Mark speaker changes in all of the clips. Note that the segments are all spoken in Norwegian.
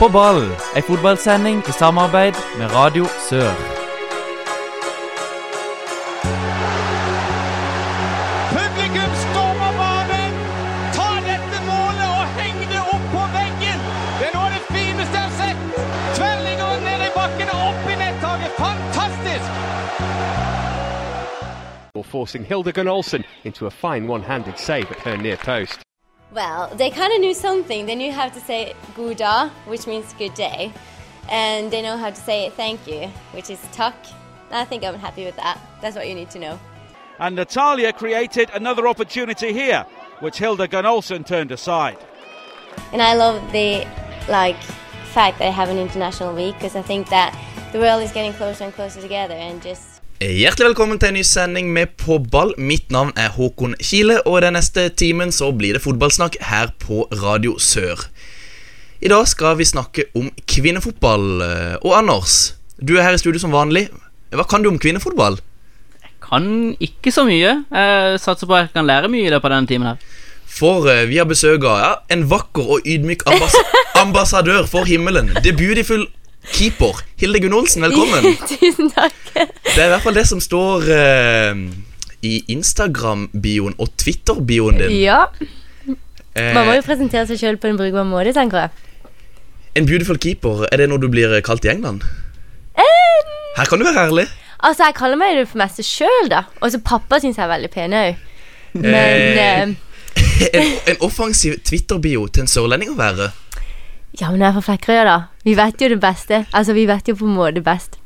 Speaker 1: På ball, ei fotballsending i samarbeid med Radio Sør.
Speaker 2: Publikum stormer banen! Ta dette målet og heng det opp på veggen! Det er noe av det fineste jeg har sett! Tverrliggeren ned i bakken og opp i nettaket! Fantastisk!
Speaker 3: or forcing Hildegard Olsen into a fine one-handed save at her near post.
Speaker 4: Well, they kind of knew something. They knew how to say "guda," which means good day, and they know how to say thank you, which is "tuck." I think I'm happy with that. That's what you need to know.
Speaker 5: And Natalia created another opportunity here, which Hilda Gunn-Olsen turned aside.
Speaker 4: And I love the like fact that I have an international week because I think that the world is getting closer and closer together, and just
Speaker 6: Hjertelig velkommen til en ny sending med På ball. Mitt navn er Håkon Kile, og den neste timen så blir det fotballsnakk her på Radio Sør. I dag skal vi snakke om kvinnefotball. Eh, Og Anders, du er her i studio som vanlig. Hva kan du om kvinnefotball?
Speaker 7: Kan ikke så mye. Jeg satser på at jeg kan lære mye i løpet av denne timen. her
Speaker 6: For eh, vi har besøk av ja, en vakker og ydmyk ambass ambassadør for himmelen. Debutifull keeper. Hilde Gunn Olsen, velkommen.
Speaker 4: Tusen takk.
Speaker 6: Det er i hvert fall det som står eh, i Instagram-bioen og Twitter-bioen din.
Speaker 4: Ja,
Speaker 6: Eh,
Speaker 4: man må jo presentere seg sjøl på en brukbar måte, tenker jeg.
Speaker 6: En beautiful keeper, er det noe du blir eh, kalt i England? Her kan du være ærlig.
Speaker 4: Altså, jeg kaller meg det for meste sjøl, da. Og så pappa syns jeg er veldig pen òg. Men
Speaker 6: Eh.
Speaker 4: eh,
Speaker 6: En, en offensiv Twitter-bio til en sørlending å være.
Speaker 4: Ja, men jeg er fra Flekkerøya, da. Vi vet jo det beste. Altså, vi vet jo på en måte best.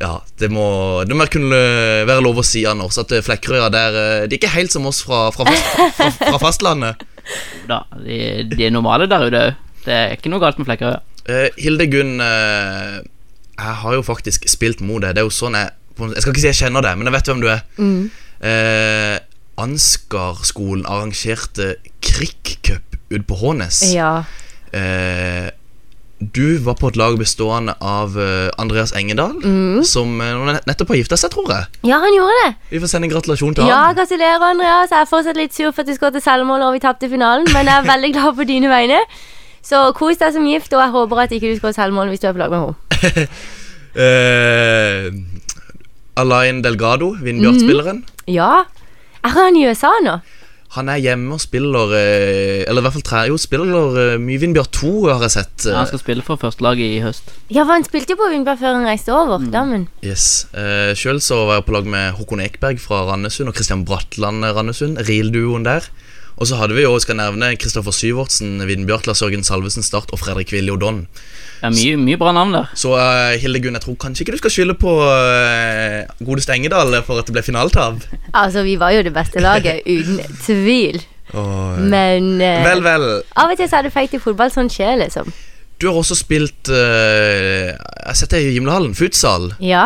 Speaker 6: Ja, det må, det må kunne eh, være lov å si, Anders, at eh, Flekkerøya der eh, De er ikke helt som oss fra, fra, fast, fra, fra fastlandet.
Speaker 7: Da, de, de er normale der ute òg. Det er ikke noe galt med Flekkerøy.
Speaker 6: Eh, Hilde Gunn, eh, jeg har jo faktisk spilt mot deg. Det er jo sånn jeg på en- Jeg skal ikke si jeg kjenner deg, men jeg vet hvem du er.
Speaker 4: Mm.
Speaker 6: Eh, Ansgarskolen arrangerte Krikk-cup ute på Hånes.
Speaker 4: Ja.
Speaker 6: Eh, du var på et lag bestående av eh, Andreas Engedal,
Speaker 4: Mm.
Speaker 6: som eh, nå nett- nettopp har gifta seg, tror jeg.
Speaker 4: Ja, han gjorde det!
Speaker 6: Vi får sende en gratulasjon til
Speaker 4: Ja,
Speaker 6: han.
Speaker 4: gratulerer, Andreas. Jeg er fortsatt litt sur for at du skåret selvmål og vi tapte finalen, men jeg er veldig glad på dine vegne. Så kos deg som gift, og jeg håper at ikke du skårer selvmål hvis du er på lag med henne.
Speaker 6: Eh, Alain Delgado, Vindbjart-spilleren.
Speaker 4: Ja. Er han i USA nå?
Speaker 6: Han er hjemme og spiller eh, Eller i hvert fall tre, jo, spiller eh, mye Vindbjart 2, har jeg sett. eh,
Speaker 7: Han skal spille for førstelaget i høst.
Speaker 4: Ja, for han spilte jo på Vindberg før han reiste over.
Speaker 6: Mm.
Speaker 4: Dammen.
Speaker 6: Yes. Eh, Sjøl så var jeg på lag med Håkon Ekberg fra Randesund og Christian Bratland eh, Randesund. Reelduoen der. Og så hadde vi jo, skal jeg nevne, Kristoffer Syvertsen, Vindbjart, Lars Jørgen Salvesen Start og Fredrik Willy Odon.
Speaker 7: Det er mye, mye bra navn der.
Speaker 6: Så eh, Hilde Gunn, jeg tror kanskje ikke du skal skylde på uh, godeste Engedal for at det ble finaletap.
Speaker 4: Altså, vi var jo det beste laget, uten tvil.
Speaker 6: Og-
Speaker 4: Men eh,
Speaker 6: Vel, vel.
Speaker 4: av og til så er det feigt i fotball. Sånn skjer, liksom.
Speaker 6: Du har også spilt eh, Jeg har sett deg i Gimlehallen, futsal.
Speaker 4: Ja.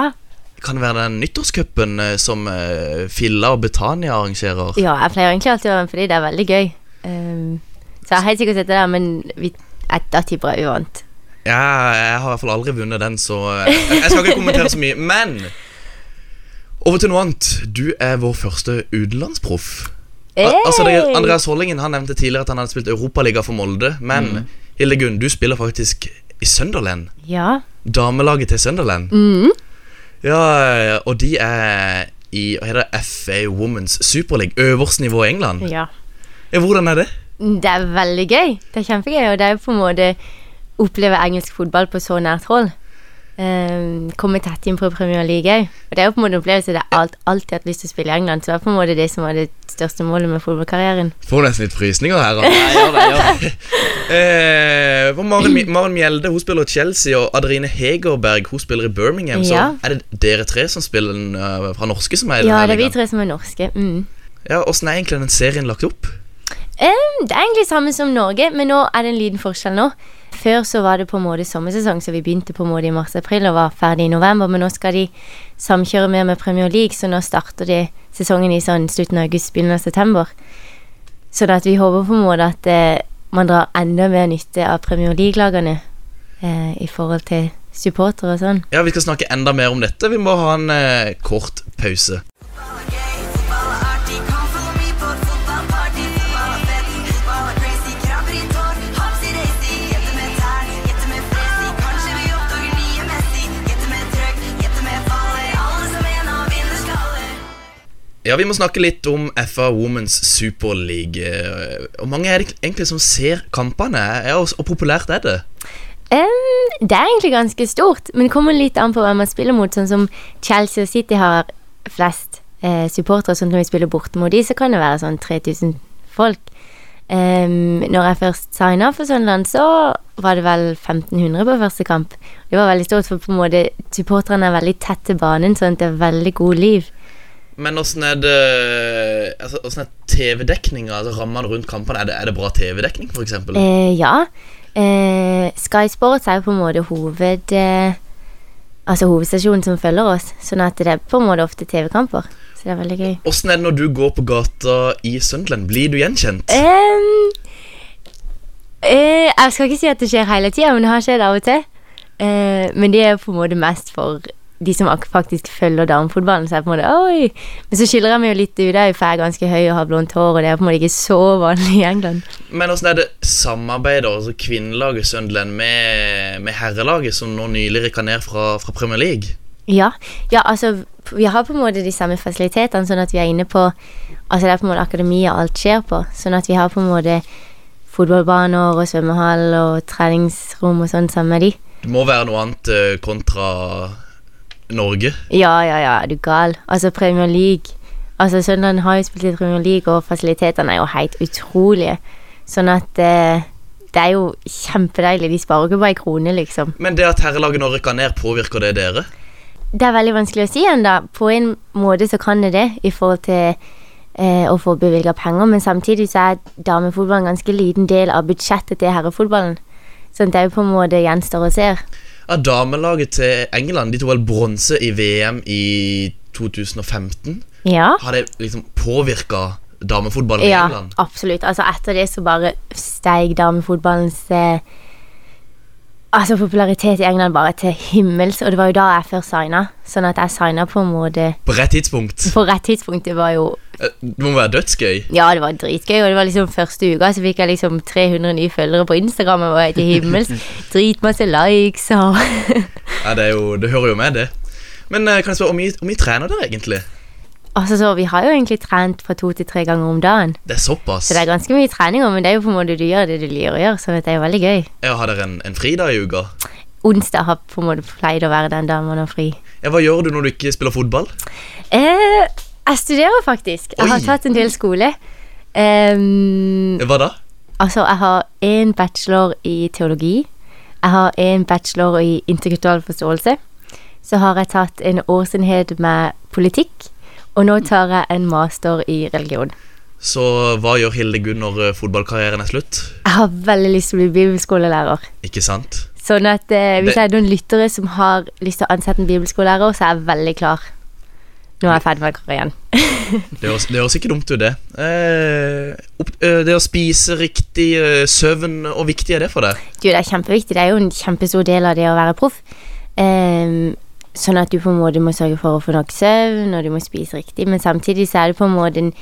Speaker 6: Kan det være den nyttårscupen eh, som eh, Filla og Betania arrangerer?
Speaker 4: Ja, jeg pleier egentlig alltid å være med fordi det er veldig gøy. Ehm, så jeg har helt sikkert sett det der, men vi, jeg, da tipper jeg vi vant.
Speaker 6: Ja, jeg har i hvert fall aldri vunnet den, så eh, jeg skal ikke kommentere så mye. Men over til noe annet. Du er vår første utenlandsproff. Al altså, det er Andreas Hollingen han nevnte tidligere at han hadde spilt Europaliga for Molde. Men Hildegunn, du spiller faktisk i Sunderland.
Speaker 4: Ja.
Speaker 6: Damelaget til Sunderland. Ja, og de er i hva heter det, FA Women's Superleague, øverste nivå i England.
Speaker 4: ja.
Speaker 6: Ja, Hvordan er det?
Speaker 4: Det er veldig gøy. Det er kjempegøy, og det er jo på en måte å oppleve engelsk fotball på så nært hold. Ehm, komme tett inn på Premier League òg. Og det er jo på en måte en opplevelse det er alt, alltid hatt lyst til å spille i England. Så det var på en måte det som var det største målet med fotballkarrieren.
Speaker 6: Får nesten litt frysninger her. Anna.
Speaker 7: Jeg gjør det, jeg gjør det.
Speaker 6: Eh, for Maren, Mi- Maren Mjelde hun spiller i Chelsea, og Adeline Hegerberg hun spiller i Birmingham.
Speaker 4: Ja.
Speaker 6: Så er det dere tre som spiller den eh, fra norske som er i
Speaker 4: Ja,
Speaker 6: denne
Speaker 4: det er vi
Speaker 6: ligaen?
Speaker 4: tre som er norske. Mm.
Speaker 6: Ja, Åssen er egentlig den serien lagt opp?
Speaker 4: Ehm, det er egentlig samme som Norge, men nå er det en liten forskjell nå. Før så var det på en måte sommersesong, så vi begynte på en måte i mars-april og var ferdig i november, men nå skal de samkjøre mer med Premier League, så nå starter de sesongen i sånn slutten av august, begynnelsen av september. Sånn at vi håper på en måte at eh, man drar enda mer nytte av Premier League-lagene eh, i forhold til supportere og sånn.
Speaker 6: Ja, Vi skal snakke enda mer om dette. Vi må ha en eh, kort pause.
Speaker 8: Fotball er crazy, krabber i tår, hopsi-daisy, gjette med tær, gjette med fres.
Speaker 6: Ja, Vi må snakke litt om FA Womens Superleague. Hvor mange er det egentlig som ser kampene? Ja, og og populært er det?
Speaker 4: Em, det er egentlig ganske stort, men det kommer litt an på hvem man spiller mot. Sånn som Chelsea og City har flest eh, supportere, sånn når vi spiller bort mot de, så kan det være sånn 3000 folk. Em, når jeg først signa for Sunderland, så var det vel 1500 på første kamp. Det var veldig stort, for på en måte supporterne er veldig tett til banen, sånn at det er veldig god liv.
Speaker 6: Men åssen er det altså, Åssen er TV-dekninga? Altså, rammene rundt kampene? Er det, er det bra TV-dekning, f.eks.? eksempel?
Speaker 4: Eh, ja. Eh, Sky Sports er jo på en måte hoved... Eh, altså hovedstasjonen som følger oss, sånn at det er på en måte ofte TV-kamper. Så det er veldig gøy.
Speaker 6: Åssen er det når du går på gata i Sunderland? Blir du gjenkjent?
Speaker 4: Em, eh, jeg skal ikke si at det skjer hele tida, men det har skjedd av og til. Eh, men det er på en måte mest for de som ak- faktisk følger damefotballen. Så er det på en måte, Oi! Men så skiller jeg meg jo litt ut. Jeg er jo fær ganske høy og har blondt hår, og det er på en måte ikke så vanlig i England.
Speaker 6: Men åssen er det samarbeidet, altså kvinnelaget Sunderland, med, med herrelaget, som nå nylig rykka ned fra, fra Premier League?
Speaker 4: Ja, ja, altså vi har på en måte de samme fasilitetene, sånn at vi er inne på Altså det er på en måte akademiet alt skjer på, sånn at vi har på en måte fotballbaner og svømmehall og treningsrom og sånn sammen med de.
Speaker 6: Det må være noe annet eh, kontra Norge.
Speaker 4: Ja, ja, ja, er du gal? Altså Premier League Altså Søndagen har jo spilt i Premier League, og fasilitetene er jo helt utrolige. Sånn at eh, det er jo kjempedeilig. De sparer ikke bare ei krone, liksom.
Speaker 6: Men det at herrelaget nå rykker ned, påvirker det dere?
Speaker 4: Det er veldig vanskelig å si ennå. På en måte så kan det det, i forhold til eh, å få bevilga penger, men samtidig så er damefotballen en ganske liten del av budsjettet til herrefotballen. Så det er jo på en måte gjenstår å se.
Speaker 6: Ja, damelaget til England de tok vel bronse i VM i 2015.
Speaker 4: Ja.
Speaker 6: Har det liksom påvirka damefotballen i
Speaker 4: Ja,
Speaker 6: England?
Speaker 4: absolutt. Altså, etter det så bare steig damefotballens eh, altså, popularitet i England bare til himmels, og det var jo da jeg først signa. Sånn at jeg signa på en måte
Speaker 6: På rett tidspunkt.
Speaker 4: på rett tidspunkt. Det var jo
Speaker 6: Eh, Det må være dødsgøy.
Speaker 4: Ja, det var dritgøy, og det var liksom første uka så fikk jeg liksom 300 nye følgere på Instagram. Og var helt til himmels. Dritmasse likes og
Speaker 6: Ja, det, er jo, det hører jo med, det. Men eh, kan jeg spørre, hvor mye, hvor mye trener dere egentlig?
Speaker 4: Altså, så Vi har jo egentlig trent fra to til tre ganger om dagen,
Speaker 6: Det er såpass.
Speaker 4: så det er ganske mye treninger. Men det er jo på en måte du gjør det du liker å gjøre, så det er jo veldig gøy.
Speaker 6: Ja, Har dere en, en fridag i uka?
Speaker 4: Onsdag har på en måte pleid å være den dagen man har fri.
Speaker 6: Ja, Hva gjør du når du ikke spiller fotball?
Speaker 4: Eh, jeg studerer faktisk. Jeg har
Speaker 6: Oi.
Speaker 4: tatt en del skole. Ehm,
Speaker 6: Eh, Hva da?
Speaker 4: altså, jeg har en bachelor i teologi. Jeg har en bachelor i interkulturell forståelse. Så har jeg tatt en årsenhet med politikk. Og nå tar jeg en master i religion.
Speaker 6: Så hva gjør Hildegunn når eh, fotballkarrieren er slutt?
Speaker 4: Jeg har veldig lyst til å bli bibelskolelærer.
Speaker 6: Ikke sant?
Speaker 4: Sånn at eh, hvis
Speaker 6: Det-
Speaker 4: det er noen lyttere som har lyst til å ansette en bibelskolelærer, så er jeg veldig klar. Nå er jeg ferdig med karrieren.
Speaker 6: Det høres, det høres ikke dumt ut, det. Eh, opp, eh, det å spise riktig eh, søvn, hvor viktig er det for deg?
Speaker 4: Du, det er kjempeviktig. Det er jo en kjempestor del av det å være proff. Ehm, sånn at du på en måte må sørge for å få nok søvn, og du må spise riktig. Men samtidig så er det på en måte en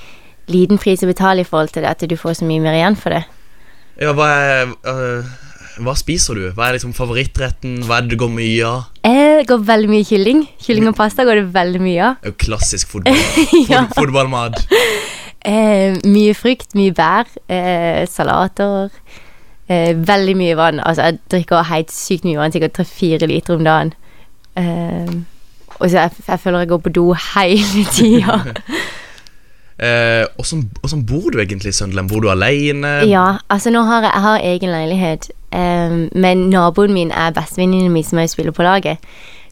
Speaker 4: liten pris å betale i forhold til det at du får så mye mer igjen for det.
Speaker 6: Ja, hva, er, eh, hva spiser du? Hva er liksom favorittretten? Hva er det du går mye av?
Speaker 4: Eh, Det går veldig mye kylling. Kylling og pasta går det veldig mye av.
Speaker 6: Det er jo klassisk fotball.
Speaker 4: Ja.
Speaker 6: Fot- Fotballmat.
Speaker 4: Eh, mye frukt, mye bær, eh, salater. Eh, veldig mye vann. Altså, jeg drikker helt sykt mye vann, sikkert tre-fire liter om dagen. Ehm, og så jeg, jeg føler jeg går på do hele tida.
Speaker 6: Eh, Åssen åssen bor du egentlig i Sunderland? Bor du aleine?
Speaker 4: Ja, altså nå har jeg, jeg har egen leilighet, ehm, men naboen min er bestevenninnen min som jeg spiller på laget.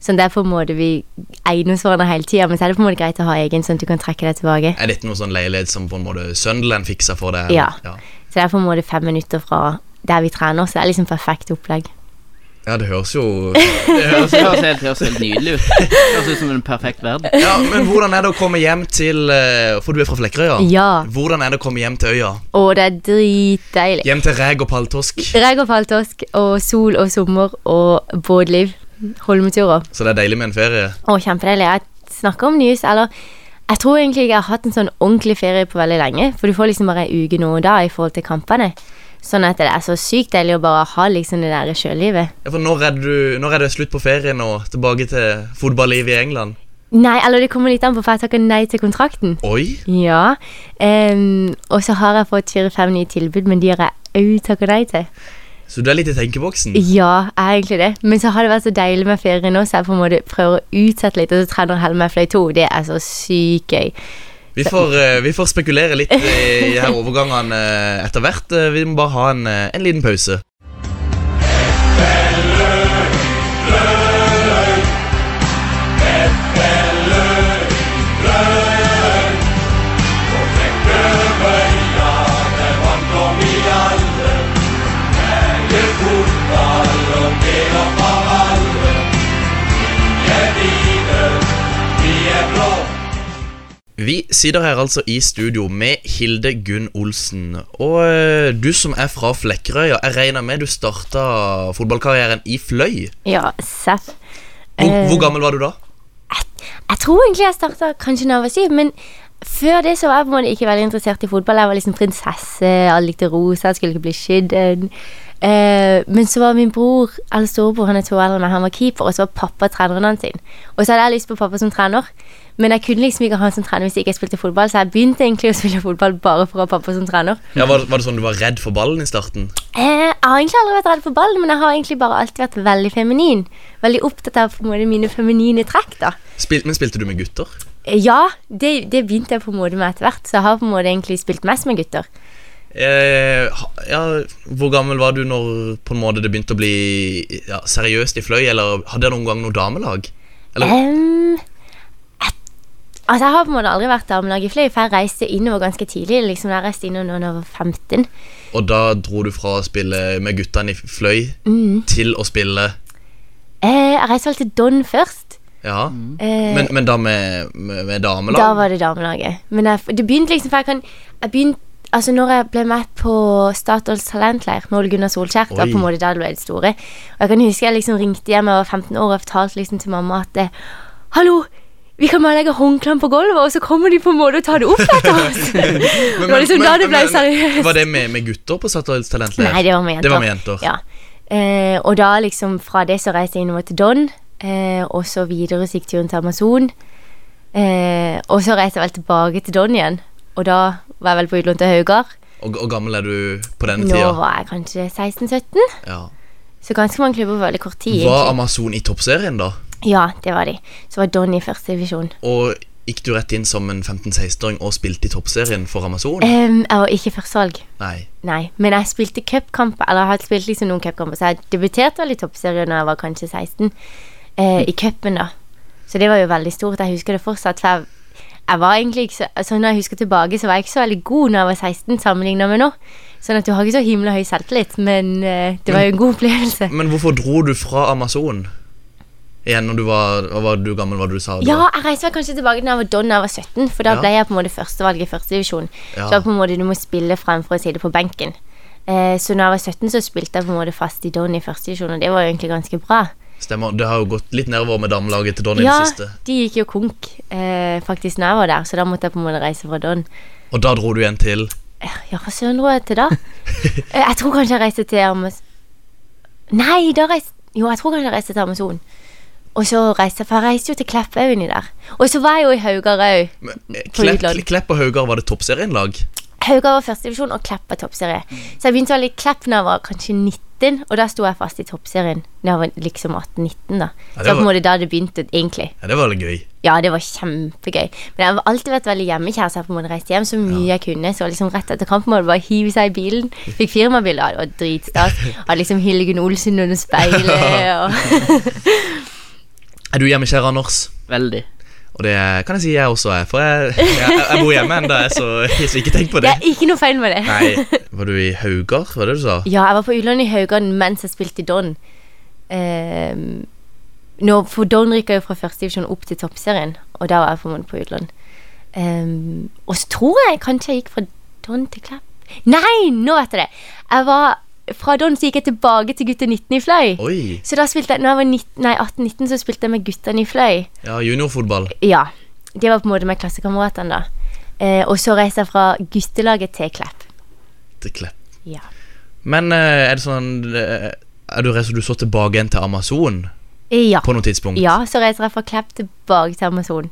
Speaker 4: Så det er på en måte vi egner oss hverandre hele tida, men så er det på en måte greit å ha egen, sånn at du kan trekke deg tilbake.
Speaker 6: Er dette noe sånn leilighet som på en måte Sunderland fikser for deg?
Speaker 4: Ja.
Speaker 6: ja.
Speaker 4: Så det er på en måte fem minutter fra der vi trener, så det er liksom perfekt opplegg.
Speaker 6: Ja, det høres jo
Speaker 7: Det høres helt, det høres helt nydelig ut. Det høres ut som en perfekt verden.
Speaker 6: Ja, Men hvordan er det å komme hjem til eh, For du er fra Flekkerøya?
Speaker 4: Ja.
Speaker 6: Hvordan er det å komme hjem til øya?
Speaker 4: Å, det er dritdeilig.
Speaker 6: Hjem til reg og palltorsk.
Speaker 4: Regn og paltosk og sol og sommer og båtliv. Holmeturer.
Speaker 6: Så det er deilig med en ferie.
Speaker 4: Å, kjempedeilig. Jeg snakker om nys, eller Jeg tror egentlig ikke jeg har hatt en sånn ordentlig ferie på veldig lenge. For du får liksom bare ei uke nå og da i forhold til kampene. Sånn at det er så sykt deilig å bare ha liksom det der sjølivet.
Speaker 6: Ja, for når er, det du, når er det slutt på ferien og tilbake til fotballivet i England?
Speaker 4: Nei, eller det kommer litt an på, for jeg takker nei til kontrakten.
Speaker 6: Oi.
Speaker 4: Ja. ehm, og så har jeg fått fire-fem nye tilbud, men de har jeg òg takka nei til.
Speaker 6: Så du er litt i tenkeboksen?
Speaker 4: Ja, jeg er egentlig det. Men så har det vært så deilig med ferie nå, så jeg på en måte prøver å utsette litt. Og så trener Helle meg fløy to. Det er så sykt gøy.
Speaker 6: Vi får, eh, vi får spekulere litt i her overgangene eh, etter hvert. Eh, Vi må bare ha en, eh, en liten pause. Vi sitter her altså i studio med Hilde Gunn Olsen. Og eh, du som er fra Flekkerøy, ja, jeg regner med du starta fotballkarrieren i Fløy?
Speaker 4: Ja, seff.
Speaker 6: Hvor,
Speaker 4: Eh.
Speaker 6: hvor gammel var du da?
Speaker 4: Jeg tror egentlig jeg starta kanskje da jeg var syv, men før det så var jeg på en måte ikke veldig interessert i fotball. Jeg var liksom prinsesse, alle likte rosa, jeg skulle ikke bli skydd. Eh, men så var min bror, eller storebror, han er to år eldre enn meg, han var keeper, og så var pappa treneren hans. sin. Og så hadde jeg lyst på pappa som trener, men jeg kunne liksom ikke ha han som trener hvis ikke jeg spilte fotball, så jeg begynte egentlig å spille fotball bare for å ha pappa som trener.
Speaker 6: Ja, var, var det sånn du var redd for ballen i starten?
Speaker 4: Eh, jeg har egentlig aldri vært redd for ballen, men jeg har egentlig bare alltid vært veldig feminin. Veldig opptatt av på en måte mine feminine trekk, da.
Speaker 6: Spil, men spilte du med gutter?
Speaker 4: Ja, det, det begynte jeg på en måte med etter hvert, så jeg har på en måte egentlig spilt mest med gutter.
Speaker 6: Eh, ha- ja, hvor gammel var du når på en måte det begynte å bli ja, seriøst i Fløy? Eller hadde dere noen gang noe damelag? Eller-
Speaker 4: Em, jeg- altså, jeg har på en måte aldri vært damelag i Fløy, for jeg reiste innover ganske tidlig. liksom Jeg reiste innover når jeg var 15.
Speaker 6: Og da dro du fra å spille med guttene i Fløy til å spille
Speaker 4: Eh, jeg reiste vel til Don først.
Speaker 6: Ja.
Speaker 4: Eh,
Speaker 6: Men, men da med, med, med damelag?
Speaker 4: Da var det damelaget. Men jeg, det begynte liksom, for jeg kan jeg begynte, Altså når jeg ble med på Statoils talentleir med Ole Gunnar Solskjær, det var
Speaker 6: Oi.
Speaker 4: på en måte da det ble det store. Og jeg kan huske jeg liksom ringte hjem jeg var 15 år og fortalte liksom til mamma at eh, Hallo! Vi kan bare legge håndklærne på gulvet, og så kommer de på en måte og tar det opp etter oss. det var liksom da det ble seriøst.
Speaker 6: Var det med, med gutter på Statoils talentleir?
Speaker 4: Nei, det var med jenter.
Speaker 6: Det var med jenter.
Speaker 4: Ja. Eh, og da liksom fra det så reiste jeg innover til Don, eh, og så videre så gikk turen til Amazon. Eh, og så reiste jeg vel tilbake til Don igjen, og da var jeg vel på utlån til Haugar.
Speaker 6: Og, og gammel er du på denne
Speaker 4: Nå
Speaker 6: tida?
Speaker 4: var jeg kanskje 16-17,
Speaker 6: Ja.
Speaker 4: så ganske mange klubber på veldig kort tid.
Speaker 6: Var
Speaker 4: egentlig.
Speaker 6: Amazon i toppserien da?
Speaker 4: Ja, det var de. Så var Don i første divisjon.
Speaker 6: Og gikk du rett inn som en 15-16-åring og spilte i toppserien for Amazon?
Speaker 4: Em, Ehm, jeg var ikke førstevalg.
Speaker 6: Nei.
Speaker 4: Nei, men jeg spilte cupkamper, eller jeg har spilt liksom noen cupkamper, så jeg debuterte vel i toppserien da jeg var kanskje 16, eh, i cupen da. Så det var jo veldig stort, jeg husker det fortsatt, for jeg, jeg var egentlig ikke så, altså når jeg husker tilbake, så var jeg ikke så veldig god når jeg var 16 sammenlignet med nå. Sånn at du har ikke så himla høy selvtillit, men eh, det var jo en god opplevelse.
Speaker 6: Men hvorfor dro du fra Amazon? Igjen når du var Hva var du gammel var det du sa? du
Speaker 4: Ja,
Speaker 6: var?
Speaker 4: jeg reiste meg kanskje tilbake da jeg var don da jeg var 17, for da
Speaker 6: Ja.
Speaker 4: ble jeg på en måte førstevalg i førstedivisjon.
Speaker 6: Ja.
Speaker 4: Så da på en måte du må spille fremfor å si det på benken. Eh, så da jeg var 17, så spilte jeg på en måte fast i don i førstedivisjon, og det var jo egentlig ganske bra.
Speaker 6: Stemmer. Det har jo gått litt nedover med damelaget til Donny i
Speaker 4: Ja,
Speaker 6: det siste.
Speaker 4: de gikk jo konk eh, faktisk når jeg var der, så da måtte jeg på en måte reise fra don.
Speaker 6: Og da dro du igjen til
Speaker 4: Eh, Ja, hva søren dro jeg til da? Eh, jeg tror kanskje jeg reiste til Amazon Nei, da reiste Jo, jeg tror kanskje jeg reiste til Amazon. Og så reiste jeg, for jeg reiste jo til Kleppau inni der. Og så var jeg jo i Haugar òg.
Speaker 6: Men, eh,
Speaker 4: På
Speaker 6: Klepp,
Speaker 4: Jylland.
Speaker 6: Klepp og Haugar, var det toppserienlag?
Speaker 4: Haugar var førstedivisjon, og Klepp var toppserie. Så jeg begynte å være litt Klepp da jeg var kanskje 19, og da sto jeg fast i toppserien. Da jeg var liksom 18-19, da.
Speaker 6: Ja, det
Speaker 4: så på en
Speaker 6: var-
Speaker 4: måte da det begynte, egentlig.
Speaker 6: Ja, det var veldig gøy.
Speaker 4: Ja, det var kjempegøy. Men jeg har alltid vært veldig hjemmekjær, så jeg har på en måte reiste hjem så mye jeg kunne. Så liksom rett etter kampen måtte jeg bare hive seg i bilen. Fikk firmabilde, og det var dritstas. Hadde liksom Hildegunn Olsen under speilet og
Speaker 6: Er du hjemmekjær, Anders?
Speaker 7: Veldig.
Speaker 6: Og det er- kan jeg si jeg også er, for jeg, jeg, jeg bor hjemme ennå, så, så ikke tenk på det.
Speaker 4: Det er ikke noe feil med det.
Speaker 6: Nei, Var du i Haugar, var det du sa?
Speaker 4: Ja, jeg var på utlån i Haugan mens jeg spilte i Don. Ehm, nå, for Don rykker jo fra første divisjon opp til toppserien, og da var jeg på en måte på utlån. Ehm, og så tror jeg kanskje jeg gikk fra Don til Klepp Nei, nå vet jeg det! Jeg var Fra Don så gikk jeg tilbake til gutter 19 i Fløy.
Speaker 6: Oi.
Speaker 4: Så da spilte jeg, når jeg var 19 nei, 18-19, så spilte jeg med guttene i Fløy.
Speaker 6: Ja, juniorfotball.
Speaker 4: Ja. Det var på en måte med klassekameratene, da. Eh, og så reiste jeg fra guttelaget til Klepp.
Speaker 6: Til Klepp.
Speaker 4: Ja.
Speaker 6: Men eh, er det sånn eh, Er du redd så du så tilbake igjen til Amazon?
Speaker 4: Ja.
Speaker 6: på noe tidspunkt.
Speaker 4: ja, så reiser jeg fra Klepp tilbake til Amazon.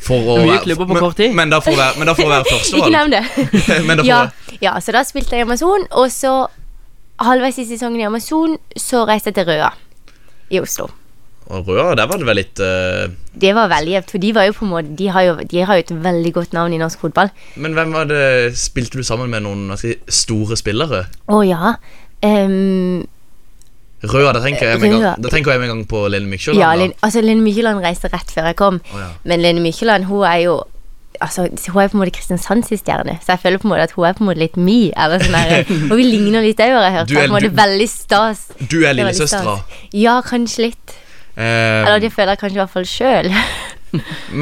Speaker 6: For å,
Speaker 7: Mye
Speaker 6: være-
Speaker 7: klubber på
Speaker 6: men-
Speaker 7: kort tid.
Speaker 6: Men da for å være, men da for å være
Speaker 4: Ikke
Speaker 6: førstevalg.
Speaker 4: nevn det.
Speaker 6: Men da for å
Speaker 4: ja,
Speaker 6: være-
Speaker 4: ja, så da spilte jeg i Amazon, og så halvveis i sesongen i Amazon, så reiste jeg til Røa i Oslo.
Speaker 6: Og Røa, der var det vel litt eh,
Speaker 4: Det var veldig jevnt, for de, var jo på en måte, de, har jo, de har jo et veldig godt navn i norsk fotball.
Speaker 6: Men hvem var det Spilte du sammen med noen hva skal jeg si, store spillere?
Speaker 4: Å ja. ehm,
Speaker 6: Røa, da tenker jeg med en
Speaker 4: Røa.
Speaker 6: gang, da tenker jeg med en gang på Lene Mykjåland.
Speaker 4: ja
Speaker 6: da.
Speaker 4: Linn, altså, Linn Mykjeland reiste rett før jeg kom,
Speaker 6: Å, ja.
Speaker 4: men Linn Mykjeland hun er jo Altså, hun er på en måte Kristiansands stjerne, så jeg føler på en måte at hun er på en måte litt mi. Eller sånn her, og vi ligner litt òg, har jeg hørt.
Speaker 6: Du
Speaker 4: Det er
Speaker 6: er-
Speaker 4: på en måte
Speaker 6: du-
Speaker 4: veldig stas.
Speaker 6: Du er
Speaker 4: Det er veldig
Speaker 6: lillesøstera.
Speaker 4: stas. Ja, kanskje litt. Eller
Speaker 6: Eh,
Speaker 4: det føler jeg kanskje i hvert fall sjøl.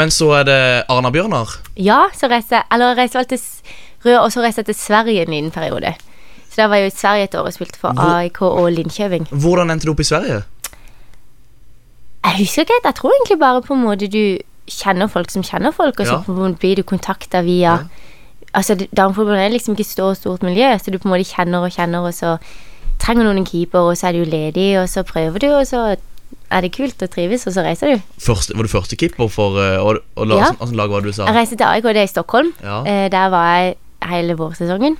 Speaker 6: men så er det Arna-Bjørnar.
Speaker 4: Ja, så reiste jeg Eller jeg reiste vel til S- Rød, og så reiste jeg til Sverige en liten periode. Så der var jeg jo i Sverige et år og spilte for AIK og Linköping.
Speaker 6: Hvordan endte du opp i Sverige?
Speaker 4: Jeg husker ikke helt. Jeg tror egentlig bare på en måte du kjenner folk som kjenner folk, og så
Speaker 6: Ja.
Speaker 4: på en måte blir du kontakta via Altså, det- damefotballen er liksom ikke et stort, stort miljø, så du på en måte kjenner og kjenner, og så trenger noen en keeper, og så er du jo ledig, og så prøver du, og så er det kult og trives, og så reiser du.
Speaker 6: Første, var du første keeper for eh, og, og la,
Speaker 4: Ja.
Speaker 6: sånn- sånn lag var det du sa?
Speaker 4: Jeg reiste til AIK, det er i Stockholm.
Speaker 6: Ja.
Speaker 4: Eh, der var jeg hele vårsesongen.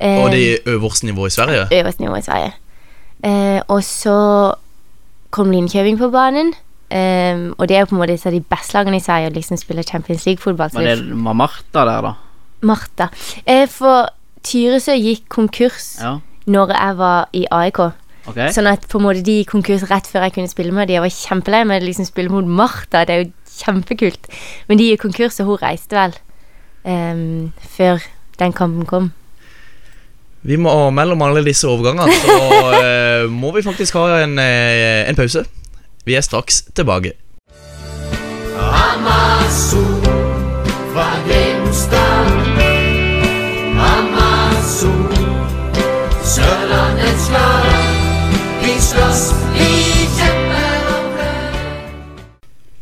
Speaker 6: Og
Speaker 4: Eh,
Speaker 6: det i øverste nivå i Sverige?
Speaker 4: øverste nivå i Sverige. Eh, og så kom Linköping på banen. eh, og det er jo på en måte et av de beste lagene i Sverige å liksom spille Champions League-fotball. så
Speaker 7: Var det
Speaker 4: det-
Speaker 7: var Martha der, da?
Speaker 4: Martha. Eh, for Tyresø gikk konkurs
Speaker 7: Ja,
Speaker 4: når jeg var i AIK.
Speaker 6: Eh?
Speaker 7: ok
Speaker 4: Sånn at på en måte de gikk konkurs rett før jeg kunne spille med dem. Jeg var kjempelei med å liksom spille mot Martha. Det er jo kjempekult. Men de gikk konkurs, og hun reiste vel eh, før den kampen kom.
Speaker 6: Vi må og Mellom alle disse overgangene så eh, må vi faktisk ha en, eh, en pause. Vi er straks tilbake.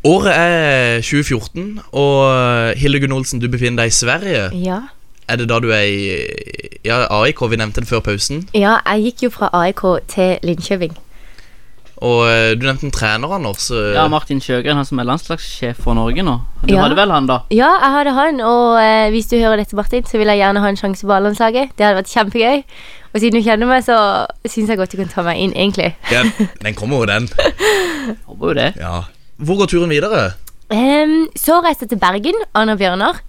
Speaker 6: Året er 2014, og Hildegunn Olsen, du befinner deg i Sverige.
Speaker 4: Ja.
Speaker 6: Er det da du er i ja, AIK? Vi nevnte det før pausen.
Speaker 4: ja, jeg gikk jo fra AIK til Linköping.
Speaker 6: Og eh, du nevnte en trener, Anders. eh,
Speaker 7: Ja, Martin Sjøgren, han som er landslagssjef for Norge nå. Du
Speaker 4: Ja.
Speaker 7: hadde vel han, da?
Speaker 4: Ja, jeg hadde han, og eh, hvis du hører dette, Martin, så vil jeg gjerne ha en sjanse på A-landslaget. Det hadde vært kjempegøy. Og siden du kjenner meg, så syns jeg godt du kan ta meg inn, egentlig.
Speaker 6: ja, den kommer jo, den.
Speaker 7: Håper jo det.
Speaker 6: Ja. Hvor går turen videre?
Speaker 4: Ehm, så reiste jeg til Bergen, Anna Bjørnar.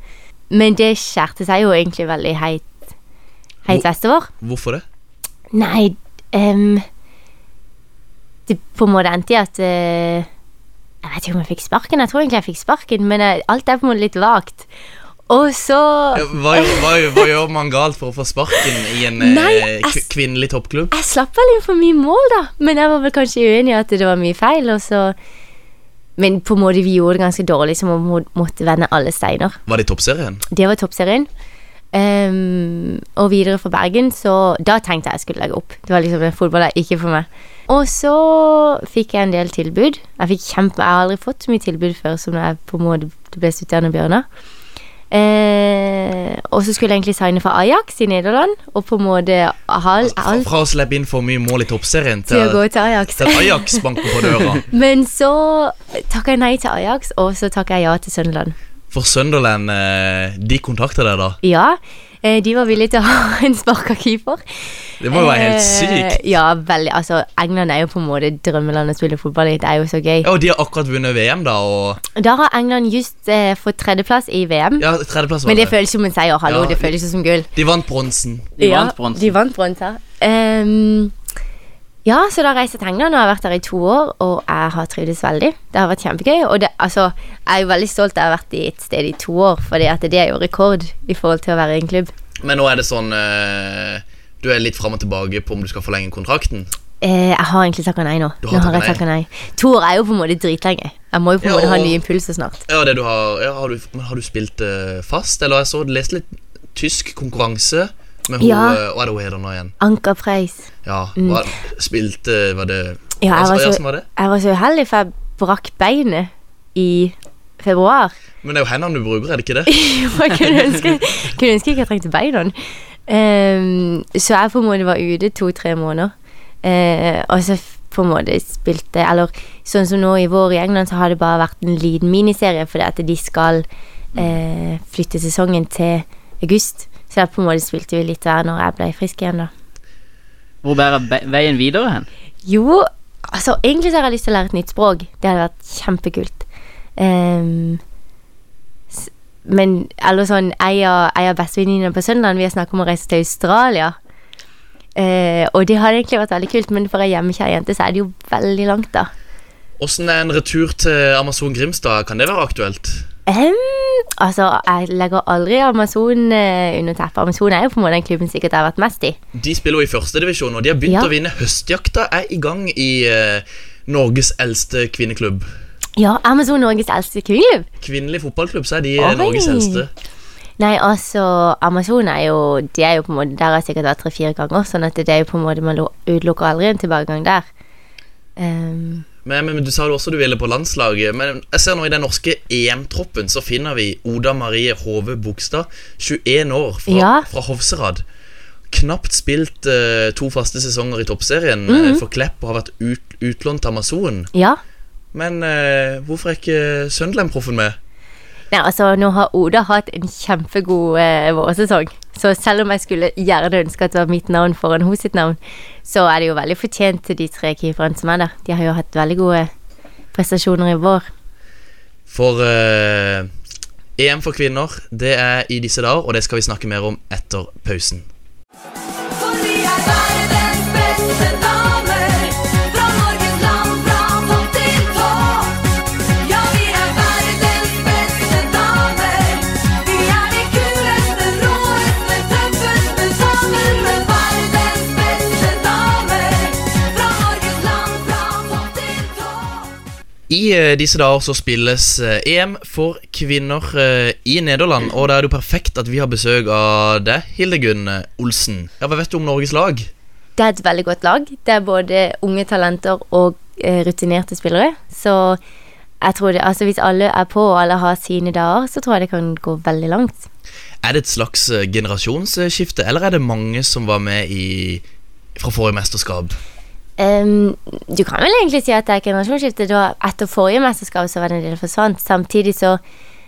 Speaker 4: Men det skjærte seg jo egentlig veldig heit, heit
Speaker 6: Hvor-
Speaker 4: vestover.
Speaker 6: Hvorfor det?
Speaker 4: Nei, ehm, det på en måte endte i at eh, Jeg vet ikke om jeg fikk sparken, jeg tror egentlig jeg fikk sparken, men eh, alt er på en måte litt vagt. Og så
Speaker 6: Ja, Hva, gjør- hva, gjør- hva gjør man galt for å få sparken i en eh,
Speaker 4: Nei, jeg
Speaker 6: kv-
Speaker 4: s-
Speaker 6: kvinnelig toppklubb?
Speaker 4: Jeg slapp vel inn for mye mål, da. Men jeg var vel kanskje uenig i at det var mye feil. Og så Men på en måte vi gjorde det ganske dårlig, så man må- måtte vende alle steiner.
Speaker 6: Var det i toppserien?
Speaker 4: Det var toppserien. Ehm, og videre fra Bergen, så da tenkte jeg jeg skulle legge opp. Det var liksom fotball er ikke for meg. Og så fikk jeg en del tilbud. Jeg fikk kjempe, jeg har aldri fått så mye tilbud før som da jeg på en måte ble studerende Bjørnar. Eh, og så skulle jeg egentlig signe for Ajax i Nederland, og på en måte ha
Speaker 6: Fra, Altså, fra å slippe inn for mye mål i toppserien
Speaker 4: til å
Speaker 6: til,
Speaker 4: gå til Ajax.
Speaker 6: til at Ajax banker på døra.
Speaker 4: Men så takka jeg nei til Ajax, og så takka jeg ja til Sunderland.
Speaker 6: For Sunderland, eh, de kontakter deg da.
Speaker 4: Ja, eh, de var villige til å ha en sparka keeper.
Speaker 6: Det må jo være helt
Speaker 4: Eh,
Speaker 6: sykt.
Speaker 4: Ja, veldig. Altså, England er jo på en måte drømmelandet å spille fotball i. Det er jo så gøy.
Speaker 6: Ja, og de har akkurat vunnet VM, da, og
Speaker 4: Da har England just eh, fått tredjeplass i VM.
Speaker 6: Ja, tredjeplass var
Speaker 4: Men det
Speaker 6: det.
Speaker 4: føles som en seier. Hallo,
Speaker 6: Ja.
Speaker 4: det føles jo som gull.
Speaker 6: De vant bronsen.
Speaker 7: De
Speaker 4: ja,
Speaker 7: vant bronsen.
Speaker 4: De vant bronsen. Ehm, ja, så da reiste jeg til England og jeg har vært der i to år, og jeg har trivdes veldig. Det har vært kjempegøy. Og det, altså, jeg er jo veldig stolt av å ha vært i et sted i to år, for det er jo rekord i forhold til å være i en klubb.
Speaker 6: Men nå er det sånn eh, Du er litt fram og tilbake på om du skal forlenge kontrakten.
Speaker 4: Eh, jeg har egentlig takka nei nå.
Speaker 6: Du
Speaker 4: nå
Speaker 6: har
Speaker 4: har jeg
Speaker 6: takket
Speaker 4: takket nei. To år er jo på en måte dritlenge. Jeg må jo på en
Speaker 6: Ja,
Speaker 4: måte ha
Speaker 6: og-
Speaker 4: nye impulser snart.
Speaker 6: Ja, det du har, ja, har, du, men har du spilt eh, fast, eller jeg så du leste litt tysk konkurranse med hun,
Speaker 4: Ja.
Speaker 6: eh, Hva er det hun heter nå igjen?
Speaker 4: Anker Preis.
Speaker 6: Ja, hva, Spilte Var det
Speaker 4: Ja, jeg
Speaker 6: altså,
Speaker 4: var så-
Speaker 6: som var det?
Speaker 4: Jeg var så uheldig, for jeg brakk beinet i februar.
Speaker 6: Men det er jo hendene du bruker, er det ikke det?
Speaker 4: For jeg kunne ønske, kunne ønske ikke jeg trengte beina. Ehm, så jeg på en måte var ute to-tre måneder. Eh, Eh, og så f- på en måte spilte Eller sånn som nå i vår i England, så har det bare vært en liten miniserie fordi at de skal eh, flytte sesongen til august. Så da på en måte spilte vi litt hver når jeg ble frisk igjen, da.
Speaker 7: Hvor bærer be- veien videre hen?
Speaker 4: Jo, altså egentlig så har jeg lyst til å lære et nytt språk. Det hadde vært kjempekult. Ehm, s- men eller sånn, jeg og, jeg og bestevenninna på søndagen, vi har snakket om å reise til Australia. Eh, og det hadde egentlig vært veldig kult, men for ei hjemmekjær jente så er det jo veldig langt, da.
Speaker 6: Åssen er en retur til Amazon Grimstad? Kan det være aktuelt?
Speaker 4: Ehm, altså, jeg legger aldri Amazon eh, under teppet. Amazon er jo på en måte den klubben sikkert jeg har vært mest i.
Speaker 6: De spiller jo i førstedivisjon, og de har begynt
Speaker 4: Ja.
Speaker 6: å vinne. Høstjakta er i gang i eh, Norges eldste kvinneklubb.
Speaker 4: Ja, Amazon Norges eldste kvinneklubb.
Speaker 6: Kvinnelig fotballklubb, så er de eh,
Speaker 4: Oi.
Speaker 6: Norges eldste.
Speaker 4: Nei, altså, Amazon er jo, de er jo på en måte, der har jeg sikkert vært tre-fire ganger, sånn at det er jo på en måte, man lo- utelukker aldri en tilbakegang der. Ehm,
Speaker 6: Men, men, men Du sa jo også du ville på landslaget. Men jeg ser nå i den norske EM-troppen så finner vi Oda Marie Hove Bogstad, 21 år, fra,
Speaker 4: Ja.
Speaker 6: fra Hovserad. Knapt spilt eh, to faste sesonger i toppserien eh, for Klepp og har vært ut, utlånt til Amazon.
Speaker 4: ja.
Speaker 6: Men eh, hvorfor er ikke Søndland-proffen med?
Speaker 4: Nei, altså, nå har Oda hatt en kjempegod eh, vårsesong, så selv om jeg skulle gjerne ønske at det var mitt navn foran hos sitt navn, så er det jo veldig fortjent til de tre keeperne som er der. De har jo hatt veldig gode prestasjoner i vår.
Speaker 6: For eh, EM for kvinner, det er i disse dager, og det skal vi snakke mer om etter pausen.
Speaker 8: For vi er verdens beste damer. Fra Norges land, fra topp til tå. Ja, vi er verdens beste damer. Vi er de kuleste, råeste, tøffeste sammen med verdens beste damer. Fra Norges land, fra topp til tå.
Speaker 6: I eh, disse dager så spilles eh, EM for kvinner eh, i Nederland, og da er det jo perfekt at vi har besøk av deg, Hildegunn eh, Olsen. Ja, Hva vet du om Norges lag?
Speaker 4: Det er et veldig godt lag. Det er både unge talenter og eh, rutinerte spillere. Så jeg tror det, altså hvis alle er på og alle har sine dager, så tror jeg det kan gå veldig langt.
Speaker 6: Er det et slags eh, generasjonsskifte, eller er det mange som var med i, fra forrige mesterskap?
Speaker 4: Ehm, du kan vel egentlig si at det er generasjonsskifte. Da etter forrige mesterskap så var det en del forsvant. Samtidig så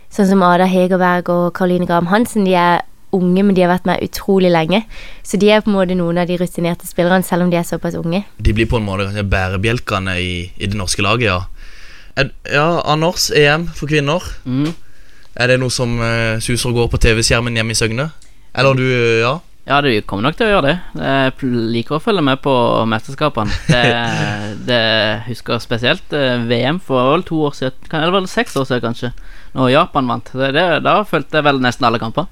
Speaker 4: sånn som Ada Hegerberg og Caroline Graham Hansen, de er unge, men de har vært med utrolig lenge. Så de er på en måte noen av de rutinerte spillerne, selv om de er såpass unge.
Speaker 6: De blir på en måte kanskje bærebjelkene i, i det norske laget, ja. Er, ja, Anders, EM for kvinner.
Speaker 7: Mm.
Speaker 6: Er det noe som eh, suser og går på TV-skjermen hjemme i Søgne? Eller du, eh, ja?
Speaker 7: Ja, du kommer nok til å gjøre det. Jeg pl- liker å følge med på mesterskapene. Det, det husker jeg spesielt eh, VM for vel to år siden, kan- eller vel seks år siden kanskje, når Japan vant. Det, det, da fulgte jeg vel nesten alle kamper.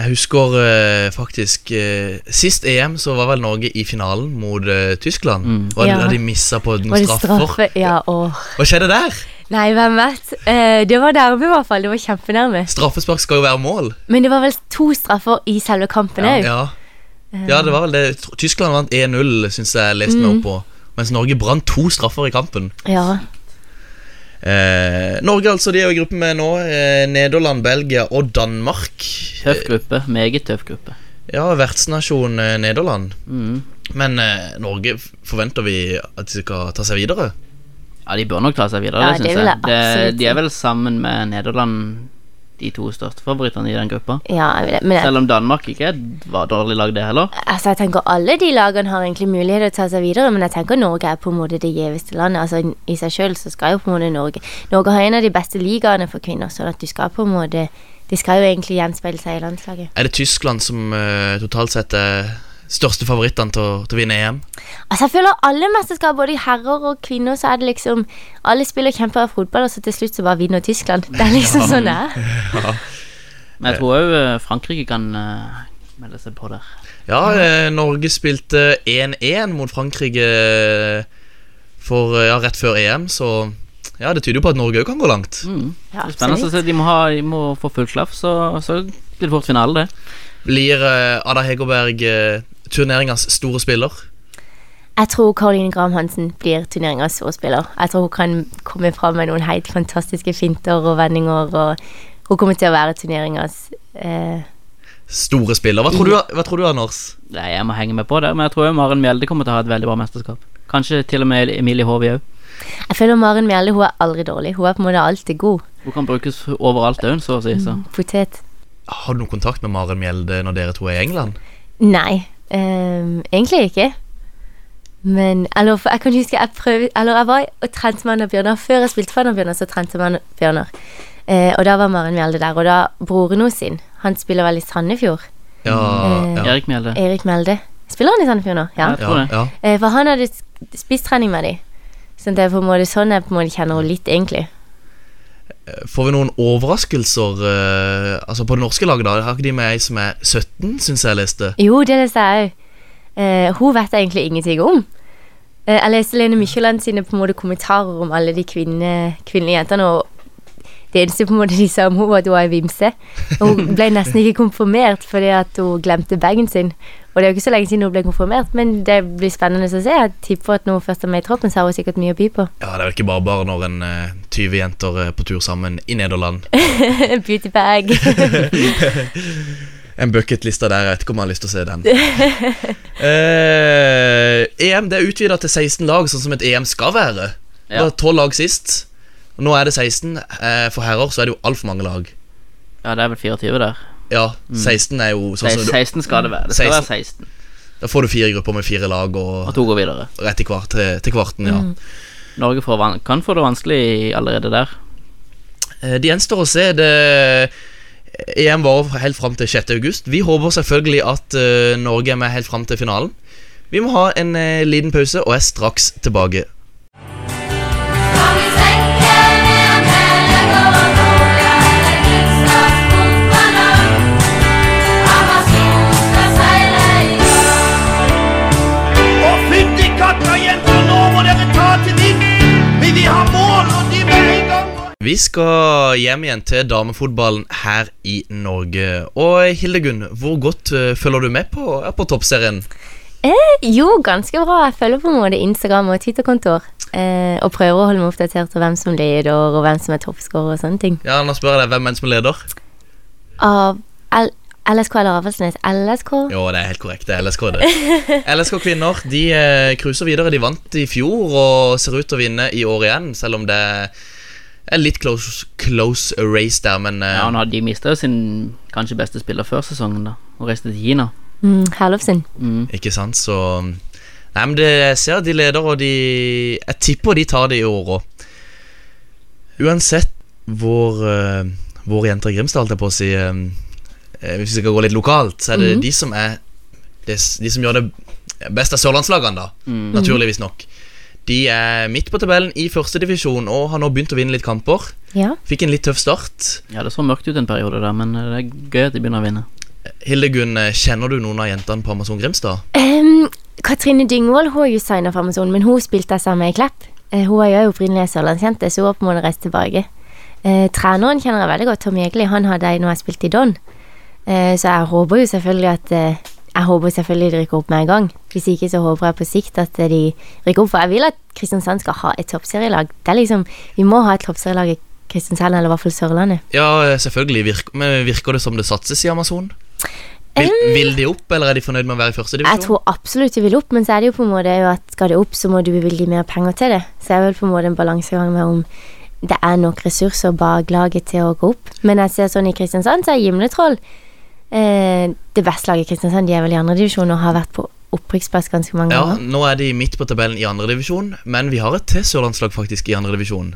Speaker 6: Jeg husker eh, faktisk eh, Sist EM så var vel Norge i finalen mot eh, Tyskland. Og
Speaker 4: Ja.
Speaker 6: da de missa på
Speaker 4: Var
Speaker 6: noen
Speaker 4: det
Speaker 6: straffer.
Speaker 4: straffe? Ja, åh.
Speaker 6: Hva skjedde der?
Speaker 4: Nei, hvem vet. Eh, det var nærme, i hvert fall. Det var kjempenærme.
Speaker 6: Straffespark skal jo være mål.
Speaker 4: Men det var vel to straffer i selve kampen òg.
Speaker 6: Ja, ja det var vel det. Tr- Tyskland vant 1-0, syns jeg jeg leste meg opp på. Mens Norge brant to straffer i kampen.
Speaker 4: Ja.
Speaker 6: Eh, Norge altså, de er jo i gruppe med nå. Eh, Nederland, Belgia og Danmark.
Speaker 4: Eh.
Speaker 7: Tøff gruppe. Meget tøff gruppe.
Speaker 6: Ja, vertsnasjon eh, Nederland. Men eh, Norge f- forventer vi at de skal ta seg videre.
Speaker 7: Ja, de bør nok ta seg videre,
Speaker 4: Ja,
Speaker 7: det
Speaker 4: det
Speaker 7: syns
Speaker 4: vil
Speaker 7: jeg.
Speaker 4: jeg
Speaker 7: Det,
Speaker 4: absolutt
Speaker 7: de
Speaker 4: si.
Speaker 7: er vel sammen med Nederland de to største favorittene i den gruppa.
Speaker 4: ja jeg vet- men jeg,
Speaker 7: Selv om Danmark ikke var dårlig lag, det heller.
Speaker 4: altså, jeg tenker alle de lagene har egentlig mulighet til å ta seg videre, men jeg tenker Norge er på en måte det gjeveste landet. Altså I seg sjøl så skal jo på en måte Norge Norge har en av de beste ligaene for kvinner, sånn at du skal på en måte Det skal jo egentlig gjenspeile seg i landslaget.
Speaker 6: Er det Tyskland som eh, totalt sett er største favorittene til, å- til å vinne EM?
Speaker 4: Altså Jeg føler alle mesterskap, både herrer og kvinner, så er det liksom Alle spiller kjemper av fotball, og så til slutt så bare vinner Tyskland. Det er liksom sånn det er.
Speaker 7: Men jeg tror òg Frankrike kan eh, melde seg på der.
Speaker 6: Ja, eh, Norge spilte 1-1 mot Frankrike eh, for, eh, ja, rett før EM, så ja, det tyder jo på at Norge òg kan gå langt.
Speaker 7: Mm.
Speaker 4: Ja,
Speaker 7: Spennende å
Speaker 4: absolutt.
Speaker 7: se. De må, ha, de må få full klaff, så, så blir det fort finale, det.
Speaker 6: Blir eh, Ada Hegerberg eh, turneringas store spiller?
Speaker 4: Jeg tror Caroline Graham Hansen blir turneringas storspiller. Jeg tror hun kan komme fram med noen helt fantastiske finter og vendinger. og Hun kommer til å være turneringas eh,
Speaker 6: store spiller. Hva tror du, hva tror du Anders?
Speaker 7: Nei, Jeg må henge med på det, men jeg tror jo Maren Mjelde kommer til å ha et veldig bra mesterskap. Kanskje til og med Emilie Håvi òg.
Speaker 4: Jeg føler Maren Mjelde hun er aldri dårlig. Hun er på en måte alltid god.
Speaker 7: Hun kan brukes overalt, hun, så å si. Så.
Speaker 4: Potet.
Speaker 6: Har du noen kontakt med Maren Mjelde når dere to er i England?
Speaker 4: Nei, ehm, egentlig ikke. Men eller, for jeg kan huske jeg prøvde Eller jeg var og trente med Anna Bjørnar. Før jeg spilte for Anna Bjørnar, så trente jeg med Anna Bjørnar. Eh, og da var Maren Mjelde der. Og da broren hennes sin. Han spiller vel i Sandefjord.
Speaker 7: Mm.
Speaker 6: Ja, ja, ja,
Speaker 7: Erik Mjelde.
Speaker 4: Erik Mjelde. Spiller han i Sandefjord nå? Ja.
Speaker 7: Ja, jeg tror det.
Speaker 6: ja.
Speaker 4: Eh, for han hadde s- spisstrening med dem. Så det er på en måte sånn jeg på en måte kjenner henne litt, egentlig.
Speaker 6: Får vi noen overraskelser eh, Altså på det norske laget? da Har ikke de med ei som er 17, syns jeg jeg leste?
Speaker 4: Jo, det leste jeg òg. Eh, hun vet jeg egentlig ingenting om. Eh, jeg leste Lene Mykjåland sine på en måte kommentarer om alle de kvinne, kvinnelige jentene. og Det eneste på en måte de sa om henne, var at hun var ei vimse. Og hun ble nesten ikke konfirmert fordi at hun glemte bagen sin. Og det er jo ikke så lenge siden hun ble konfirmert, men det blir spennende å se. Jeg tipper at når hun først er med i troppen, så har hun sikkert mye å by på.
Speaker 6: Ja, Det er vel ikke bare bare når en eh, 20 jenter er på tur sammen i Nederland.
Speaker 4: Beauty bag.
Speaker 6: En bucketliste der, jeg vet ikke om jeg har lyst til å se den. Eh, EM det er utvida til 16 lag, sånn som et EM skal være. Det
Speaker 7: Ja.
Speaker 6: var 12 lag sist. og Nå er det 16. Eh, for herrer så er det jo altfor mange lag.
Speaker 7: Ja, det er vel 24 der.
Speaker 6: Ja, 16 er jo sånn
Speaker 7: Nei,
Speaker 6: som du,
Speaker 7: 16 skal det være. Det skal
Speaker 6: 16.
Speaker 7: være 16.
Speaker 6: Da får du fire grupper med fire lag
Speaker 7: Og
Speaker 6: og Mm.
Speaker 7: to går videre.
Speaker 6: rett til, kvart, til, til kvarten. ja
Speaker 7: Norge får van kan få det vanskelig allerede der.
Speaker 6: Eh, Det gjenstår å se. Det EM varer helt fram til 6. august. Vi håper selvfølgelig at eh, Norge er med helt fram til finalen. Vi må ha en eh, liten pause og er straks tilbake.
Speaker 8: Kan vi senke en heller og rolige eller Gustav Montaner? Amazon skal seile i år.
Speaker 2: Og fytti katta, jenter, nå må dere ta til dem! Vi vil ha mål, og de med en gang!
Speaker 6: Vi skal hjem igjen til damefotballen her i Norge. Og Hildegunn, hvor godt eh, følger du med på, ja, på toppserien?
Speaker 4: Eh, Jo, ganske bra. Jeg følger på en måte Instagram og Twitter-kontoer. Eh, og prøver å holde meg oppdatert på hvem som leder, og hvem som er toppscorer og sånne ting.
Speaker 6: Ja, Nå spør jeg deg hvem er det som leder.
Speaker 4: Av L LSK eller Avaldsnes? LSK?
Speaker 6: Jo, det er helt korrekt. Det er LSK, det. LSK kvinner de eh, cruiser videre. De vant i fjor og ser ut til å vinne i år igjen, selv om det er litt close, close race der, men eh,
Speaker 7: Ja, han hadde, De mista jo sin kanskje beste spiller før sesongen, da. Og reiste til Kina.
Speaker 4: Mm, Herlovsen.
Speaker 6: Ikke sant, så Nei, men det, jeg ser at de leder, og de Jeg tipper de tar det i år òg. Uansett hvor eh, Våre jenter i Grimstad, holdt jeg på å si eh, eh, Hvis vi skal gå litt lokalt, så er det de som er de, s- de som gjør det best av sørlandslagene, da. Naturligvis nok. De er midt på tabellen i førstedivisjon og har nå begynt å vinne litt kamper.
Speaker 4: Ja.
Speaker 6: Fikk en litt tøff start.
Speaker 7: Ja, Det så mørkt ut en periode der, men eh, det er gøy at de begynner å vinne.
Speaker 6: Hildegunn, eh, kjenner du noen av jentene på Amazon Grimstad?
Speaker 4: Em, Katrine Dyngvold hun er jo signa for Amazon, men hun spilte jeg sammen med i Klepp. Eh, hun er jo opprinnelig sørlandsjente, så hun har på en måte reist tilbake. Eh, treneren kjenner jeg veldig godt, Tom Jegli. Han hadde jeg når jeg spilte i Don. Eh, så jeg håper jo selvfølgelig at eh, Jeg håper selvfølgelig de rykker opp med en gang. Hvis ikke så håper jeg på sikt at eh, de rykker opp. For jeg vil at Kristiansand skal ha et toppserielag. Det er liksom, Vi må ha et toppserielag i Kristiansand, eller i hvert fall Sørlandet.
Speaker 6: Ja, eh, selvfølgelig. Virker, men virker det som det satses i Amazon? Vil, vil de opp, eller er de fornøyd med å være i første divisjon?
Speaker 4: Jeg tror absolutt de vil opp, men så er det jo på en måte jo at skal det opp, så må du bevilge mer penger til det. Så det er vel på en måte en balansegang med om det er nok ressurser bak laget til å gå opp. Men jeg ser sånn i Kristiansand, så er Gimletroll eh, det beste laget i Kristiansand. De er vel i andredivisjon og har vært på opprykksplass ganske mange
Speaker 6: Ja,
Speaker 4: ganger.
Speaker 6: Nå er de midt på tabellen i andre divisjon, men vi har et til sørlandslag faktisk i andre divisjon.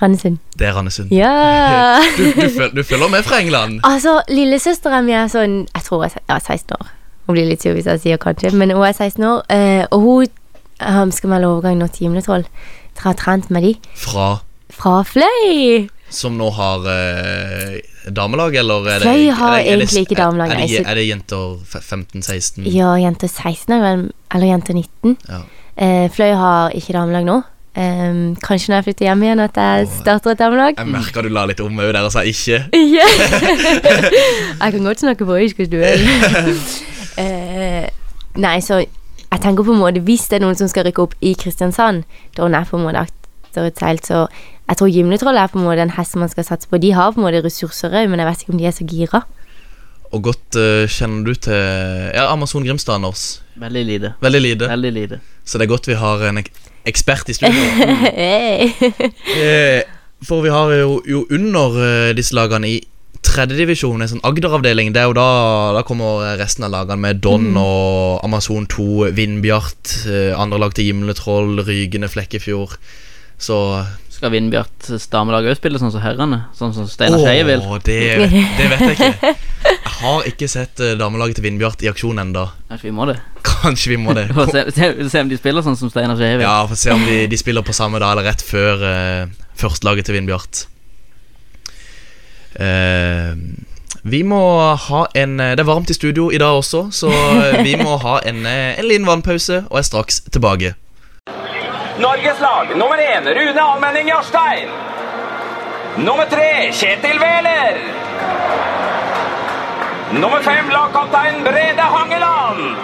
Speaker 4: Randesund.
Speaker 6: Det er Randesund.
Speaker 4: Ja!
Speaker 6: Du, du, føl, du følger med fra England?
Speaker 4: Altså, lillesøstera mi er sånn Jeg tror jeg er 16 år. Hun blir litt sur hvis jeg sier kanskje, men hun er 16 år. Eh, og hun eh, skal melde overgang nå til Gimletroll. Jeg har trent med de
Speaker 6: Fra
Speaker 4: fra Fløy.
Speaker 6: som nå har eh, damelag, eller er det
Speaker 4: Fløy har
Speaker 6: er det- er det-
Speaker 4: egentlig ikke
Speaker 6: er-
Speaker 4: damelag,
Speaker 6: Er,
Speaker 4: nei,
Speaker 6: det-
Speaker 4: så-
Speaker 6: er det jenter fe- 15-16?
Speaker 4: Ja, jenter 16 er vel, eller jenter 19.
Speaker 6: Ja.
Speaker 4: Eh, Fløy har ikke damelag nå. Em, kanskje når jeg flytter hjem igjen, at jeg starter et damelag.
Speaker 6: Jeg merker du la litt om òg der og sa ikke.
Speaker 4: Ja. jeg kan godt snakke voisk hvis du vil. Eh, nei, så jeg tenker på en måte Hvis det er noen som skal rykke opp i Kristiansand, da hun er på en måte akterutseilt, så jeg tror Gimletroll er på en måte en hest man skal satse på. De har på en måte ressurser òg, men jeg vet ikke om de er så gira.
Speaker 6: Og godt eh, kjenner du til ja, Amazon Grimstad, Anders.
Speaker 7: Veldig lite.
Speaker 6: Veldig lite.
Speaker 7: Veldig lite.
Speaker 6: Så det er godt vi har en ek ekspert i studio.
Speaker 4: Hey.
Speaker 6: Eh, For vi har jo, jo under eh, disse lagene i tredjedivisjon, en sånn Agder-avdeling. Det er jo da, da kommer resten av lagene med Don og Amazon 2, Vindbjart, eh, andre lag til Gimletroll, Rygene, Flekkefjord. Så
Speaker 7: Skal Vindbjart damelag òg spille sånn som herrene? Sånn som Steinar Skei vil?
Speaker 6: Åh, det, det vet jeg ikke. Jeg har ikke sett eh, damelaget til Vindbjart i aksjon enda
Speaker 7: Kanskje vi må det?
Speaker 6: Kanskje vi må det.
Speaker 7: Og se, se, se om de spiller sånn som Steinar Skei vil.
Speaker 6: Ja, Få se om de, de spiller på samme dag eller rett før eh, førstelaget til Vindbjart. Eh, vi må ha en eh, Det er varmt i studio i dag også, så vi må ha en, eh, en liten vannpause og er straks tilbake.
Speaker 2: Norges lag nummer én Rune Almenning Jarstein. Nummer tre Kjetil Wæler. Nummer fem lagkaptein Brede Hangeland.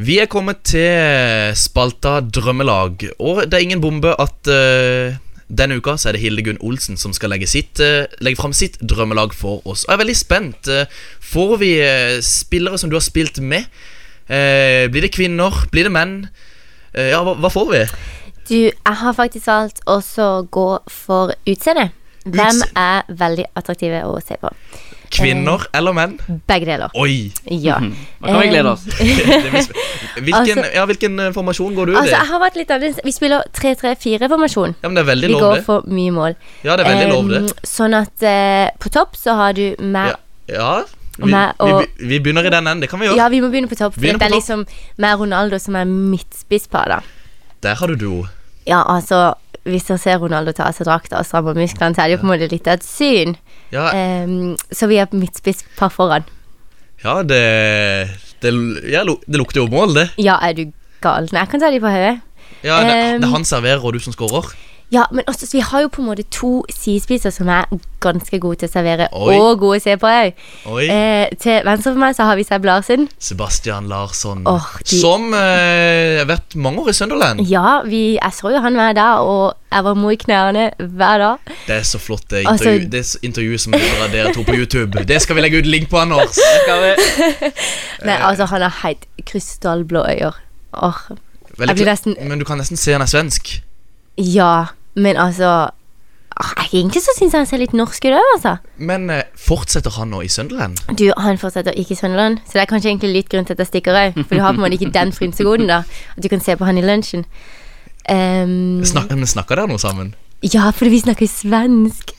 Speaker 6: Vi er kommet til spalta Drømmelag, og det er ingen bombe at eh, denne uka så er det Hildegunn Olsen som skal legge, sitt, eh, legge fram sitt drømmelag for oss. Og jeg er veldig spent. Eh, får vi eh, spillere som du har spilt med? Eh, blir det kvinner? Blir det menn? Eh, ja, hva, hva får vi?
Speaker 4: Du, jeg har faktisk valgt også å gå for utseende. Hvem
Speaker 6: Utseende?
Speaker 4: er veldig attraktive å se på?
Speaker 6: Kvinner
Speaker 4: Eh.
Speaker 6: eller menn?
Speaker 4: Begge deler.
Speaker 6: Oi!
Speaker 4: Ja.
Speaker 7: Da kan vi glede oss.
Speaker 4: Eh,
Speaker 6: Det blir sp- Hvilken,
Speaker 4: Altså-
Speaker 6: ja, hvilken eh, formasjon går du
Speaker 4: Altså, jeg
Speaker 6: i?
Speaker 4: har vært litt annerledes. Vi spiller 3-3-4-formasjon.
Speaker 6: Ja, men Det er veldig
Speaker 4: Vi
Speaker 6: lov,
Speaker 4: går
Speaker 6: det.
Speaker 4: for mye mål.
Speaker 6: Ja, det er veldig lov, det.
Speaker 4: Em, sånn at eh, på topp så har du meg
Speaker 6: Ja. ja.
Speaker 4: Og
Speaker 6: Vi,
Speaker 4: meg
Speaker 6: vi,
Speaker 4: og-
Speaker 6: vi begynner i den enden. Det kan vi
Speaker 4: ja.
Speaker 6: gjøre.
Speaker 4: vi må begynne på topp. For
Speaker 6: Begynne
Speaker 4: det er
Speaker 6: på
Speaker 4: liksom meg og Ronaldo som er midtspissparet. da.
Speaker 6: Der har du duo.
Speaker 4: Ja, altså Hvis dere ser Ronaldo ta av seg drakta og stramme musklene, så er det jo på en måte litt av et syn.
Speaker 6: Ja,
Speaker 4: Em, så vi er midtspisspar foran.
Speaker 6: Ja, det, det, ja, lu- det lukter jo mål, det.
Speaker 4: Ja, er du gal? Nei, jeg kan ta de på hodet.
Speaker 6: Ja, det,
Speaker 4: Ehm.
Speaker 6: det er han serverer, og du som scorer.
Speaker 4: Ja, men også, så vi har jo på en måte to sidespiser som er ganske gode til å servere,
Speaker 6: Oi.
Speaker 4: og gode å se på òg.
Speaker 6: Oi.
Speaker 4: Eh, til venstre for meg så har vi Seb Larsen.
Speaker 6: Sebastian Larsson,
Speaker 4: Åh, de-
Speaker 6: som eh, har vært mange år i Sunderland.
Speaker 4: Ja, vi, jeg så jo han hver dag, og jeg var mo i knærne hver dag.
Speaker 6: Det er så flott, det
Speaker 4: Altså-
Speaker 6: intervju, det s- intervjuet som dere, dere to på YouTube. Det skal vi legge ut link på, Anders.
Speaker 7: Skal vi?
Speaker 4: Nei,
Speaker 6: Eh.
Speaker 4: altså, han har helt krystallblå øyne. Åh,
Speaker 6: Veldig
Speaker 4: Jeg
Speaker 6: kle-
Speaker 4: blir nesten-
Speaker 6: Men du kan nesten se han er svensk.
Speaker 4: ja, men altså åh, jeg Egentlig så syns jeg han ser litt norsk ut òg, altså.
Speaker 6: Men eh, fortsetter han nå i Sunderland?
Speaker 4: Du, han fortsetter ikke i Sønderland, så det er kanskje egentlig litt grunn til at jeg stikker òg. For du har på en måte ikke den frynsegoden, da. At du kan se på han i lunsjen. Ehm,
Speaker 6: Snak, men snakker dere noe sammen?
Speaker 4: ja, fordi vi snakker svensk.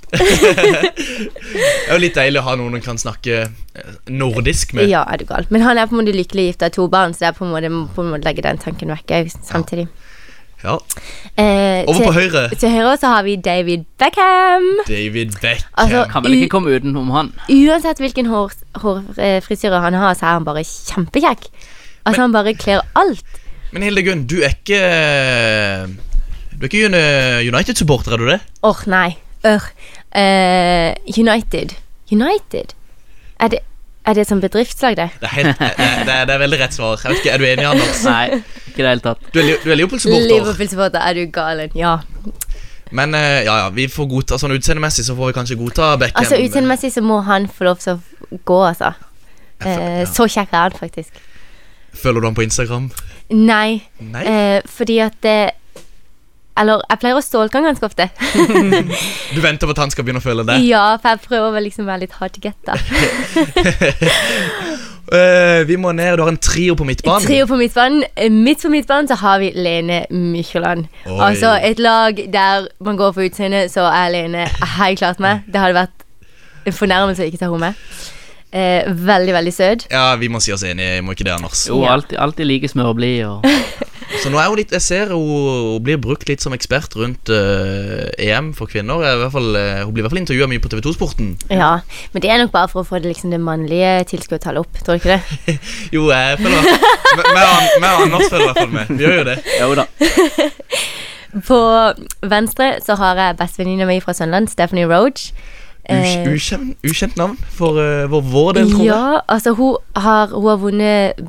Speaker 6: Det er jo litt deilig å ha noen du kan snakke eh, nordisk med.
Speaker 4: Ja, er du gal. Men han er på en måte lykkelig gift av to barn, så det er på en måte, må på en måte legge den tanken vekk òg, samtidig.
Speaker 6: Ja.
Speaker 4: Eh,
Speaker 6: Over på
Speaker 4: til,
Speaker 6: høyre,
Speaker 4: til høyre så har vi David Beckham.
Speaker 6: David Beckham.
Speaker 4: Altså,
Speaker 7: Kan vel ikke komme utenom han.
Speaker 4: Uansett hvilken hår, hårfrisyre han har, så er han bare kjempekjekk. Altså, han bare kler alt.
Speaker 6: Men Hildegunn, du er ikke Du er ikke Uni- United-supporter, er du det?
Speaker 4: Åh, nei. Ør. Eh, United. United? Er det, er det som bedriftslag, det?
Speaker 6: Det er, helt, det, er- det er, det er veldig rett svar. Jeg vet ikke, Er du enig, Anders?
Speaker 7: Nei, ikke i det hele tatt.
Speaker 6: Du er, Li- du er Liverpool-supporter.
Speaker 4: Liverpool-supporter, er du galen? Ja.
Speaker 6: Men eh, ja, ja, vi får godta sånn utseendemessig så får vi kanskje godta Beckham.
Speaker 4: Altså, utseendemessig så må han få lov til å gå, altså. Eh, så kjekk er han faktisk.
Speaker 6: Følger du ham på Instagram?
Speaker 4: Nei,
Speaker 6: Nei?
Speaker 4: eh, fordi at eh, Eller, jeg pleier å stalke han ganske ofte.
Speaker 6: Du venter på at han skal begynne å følge deg?
Speaker 4: ja, for jeg prøver vel liksom å være litt hard to get, da.
Speaker 6: Eh, vi må ned. Du har en trio på midtbanen.
Speaker 4: Trio på midtbanen. Midt på midtbanen så har vi Lene Mykjåland.
Speaker 6: Oi.
Speaker 4: Altså et lag der man går for utseende, så er Lene helt klart med. Det hadde vært en fornærmelse å ikke ta henne med. Eh, veldig, veldig søt.
Speaker 6: Ja, vi må si oss enige, må ikke det, Anders?
Speaker 7: Jo, alltid, alltid like smørblid og
Speaker 6: Så nå er hun litt Jeg ser hun, hun blir brukt litt som ekspert rundt eh, EM for kvinner. I hvert fall, eh, hun blir i hvert fall intervjua mye på TV2-sporten.
Speaker 4: Ja, Men det er nok bare for å få det, liksom, det mannlige tilskuertallet opp. Tror du ikke det?
Speaker 6: Jo, jeg føler Meg og- meg og Anders føler i hvert fall med. Vi gjør jo det.
Speaker 7: Jo da.
Speaker 4: På venstre så har jeg bestevenninna mi fra Sønland, Stephanie Roge.
Speaker 6: Ukj- ukjent, ukjent navn for eh, vår, vår del, tror jeg.
Speaker 4: Eh. ja, altså hun har, hun har vunnet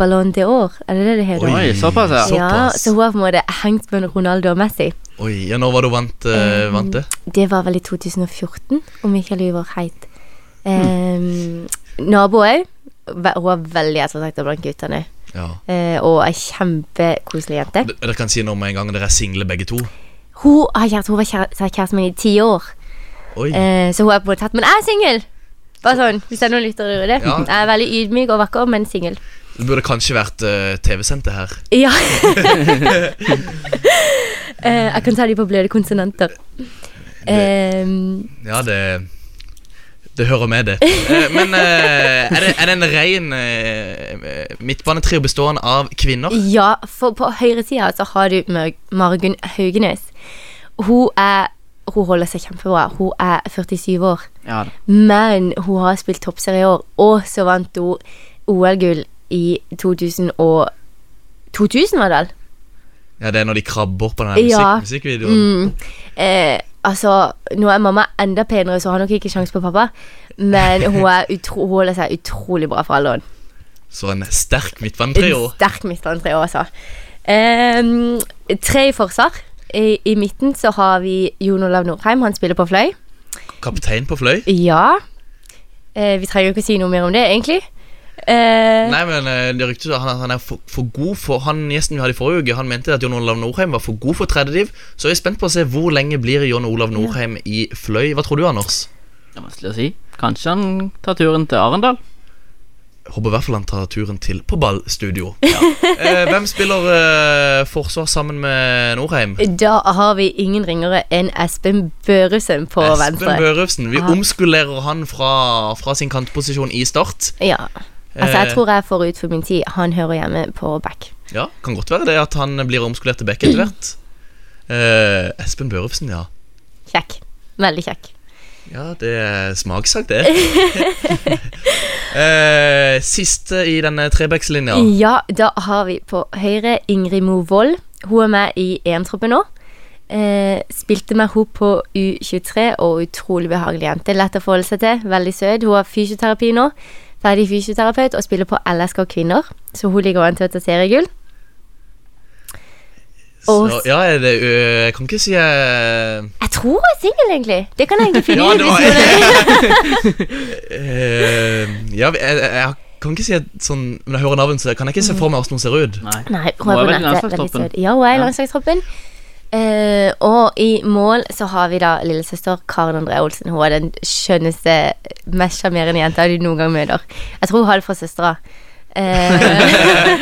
Speaker 4: Ballon d'Or, er det det det heter?
Speaker 7: Oi, såpass, ja.
Speaker 4: Ja,
Speaker 6: Såpass.
Speaker 4: så hun har på en måte hengt med Ronaldo og Messi.
Speaker 6: Oi,
Speaker 4: Eh.
Speaker 6: ja, Når var det hun vant, eh, vant det?
Speaker 4: Det var vel i 2014, om ikke jeg lyver helt.
Speaker 7: Hmm.
Speaker 4: Um, Nabo òg. Hun er veldig ettertrakta blant guttene.
Speaker 6: Ja.
Speaker 4: eh, og ei kjempekoselig jente.
Speaker 6: D- Dere kan si noe med en gang dere er single begge to.
Speaker 4: Hun, har kjæreste- hun var kjære- kjæresten min i ti år,
Speaker 6: Oi.
Speaker 4: eh, så hun er på en måte tatt. Men jeg er singel! Bare sånn, hvis det er noen lyttere som lurer det.
Speaker 6: Ja.
Speaker 4: Jeg er veldig ydmyk og vakker, men singel.
Speaker 6: Det burde kanskje vært eh, TV-sendt, det her.
Speaker 4: Ja. Eh, jeg kan ta de på bløde konsonanter. Ehm,
Speaker 6: Ja, det Det hører med, det. Eh, Men eh, er, det, er det en ren eh, midtbanetrio bestående av kvinner?
Speaker 4: ja, for på høyresida så har du Mar- Margunn Haugenes. Hun er Hun holder seg kjempebra. Hun er 47 år.
Speaker 7: Ja da.
Speaker 4: Men hun har spilt toppserie i år, og så vant hun OL-gull i 2000 og 2000, var det vel?
Speaker 6: Ja, Det er når de krabber på den her
Speaker 4: Ja. Mm.
Speaker 6: musikk, musikkvideoen.
Speaker 4: Eh, altså, nå er mamma enda penere, så har nok ikke sjans på pappa. Men hun, er utro hun holder seg utrolig bra for alderen.
Speaker 6: Så en sterk
Speaker 4: En
Speaker 6: midtbanetrio.
Speaker 4: sterk midtbanetrio, altså. Ehm, tre i forsvar. I, I midten så har vi Jon Olav Nordheim, han spiller på fløy.
Speaker 6: Kaptein på fløy.
Speaker 4: Ja. Eh, vi trenger jo ikke si noe mer om det, egentlig. Eh,
Speaker 6: Nei, men eh, det ryktes at han, han er for, for god for Han gjesten vi hadde i forrige uke, han mente at Jon Olav Norheim var for god for tredjediv. Så jeg er spent på å se hvor lenge blir Jon Olav Norheim i fløy. Hva tror du, Anders?
Speaker 7: Det er vanskelig å si. Kanskje han tar turen til Arendal?
Speaker 6: Jeg Håper i hvert fall han tar turen til på ballstudio. Eh, hvem spiller eh, forsvar sammen med Norheim?
Speaker 4: Da har vi ingen ringere enn Espen Børussen på
Speaker 6: Espen
Speaker 4: venstre.
Speaker 6: Børufsen. Vi
Speaker 4: Ja.
Speaker 6: omskulerer han fra, fra sin kantposisjon i Start.
Speaker 4: ja. Altså, jeg
Speaker 6: Eh.
Speaker 4: tror jeg er forut for min tid. Han hører hjemme på back.
Speaker 6: Ja, Kan godt være det at han blir omskulert til bekk etter hvert. Eh, Espen Børufsen, ja.
Speaker 4: Kjekk. Veldig kjekk.
Speaker 6: Ja, det er smaksak, det. Eh, siste i denne trebackslinja.
Speaker 4: Ja, da har vi på høyre Ingrid Mo Wold. Hun er med i EM-troppen nå. Eh, spilte med henne på U23 og utrolig behagelig jente. Lett å forholde seg til, veldig søt. Hun har fysioterapi nå. Ferdig fysioterapeut og spiller på LSK Kvinner, så hun ligger an til å ta seriegull. Og
Speaker 6: Så, ja, er det, ø, jeg kan ikke si eh,
Speaker 4: Jeg tror hun er singel, egentlig. Det kan jeg egentlig finne
Speaker 6: Ja,
Speaker 4: ut.
Speaker 6: det
Speaker 4: hvis
Speaker 6: var-
Speaker 4: hun er-
Speaker 6: Eh, ja, jeg, jeg, jeg kan ikke si at sånn Når jeg hører navnet, så kan jeg ikke se for meg hvordan hun ser ut.
Speaker 7: Nei.
Speaker 4: Nei,
Speaker 7: Hun er
Speaker 4: hun er på
Speaker 7: vel i
Speaker 4: nettet. Veldig
Speaker 7: landslagstroppen?
Speaker 4: søt. Ja, hun er i
Speaker 7: Ja.
Speaker 4: landslagstroppen. Eh, og i mål så har vi da lillesøster Karen André Olsen. Hun er den skjønneste, mest sjarmerende jenta du noen gang møter. Jeg tror hun har det fra søstera. Eh,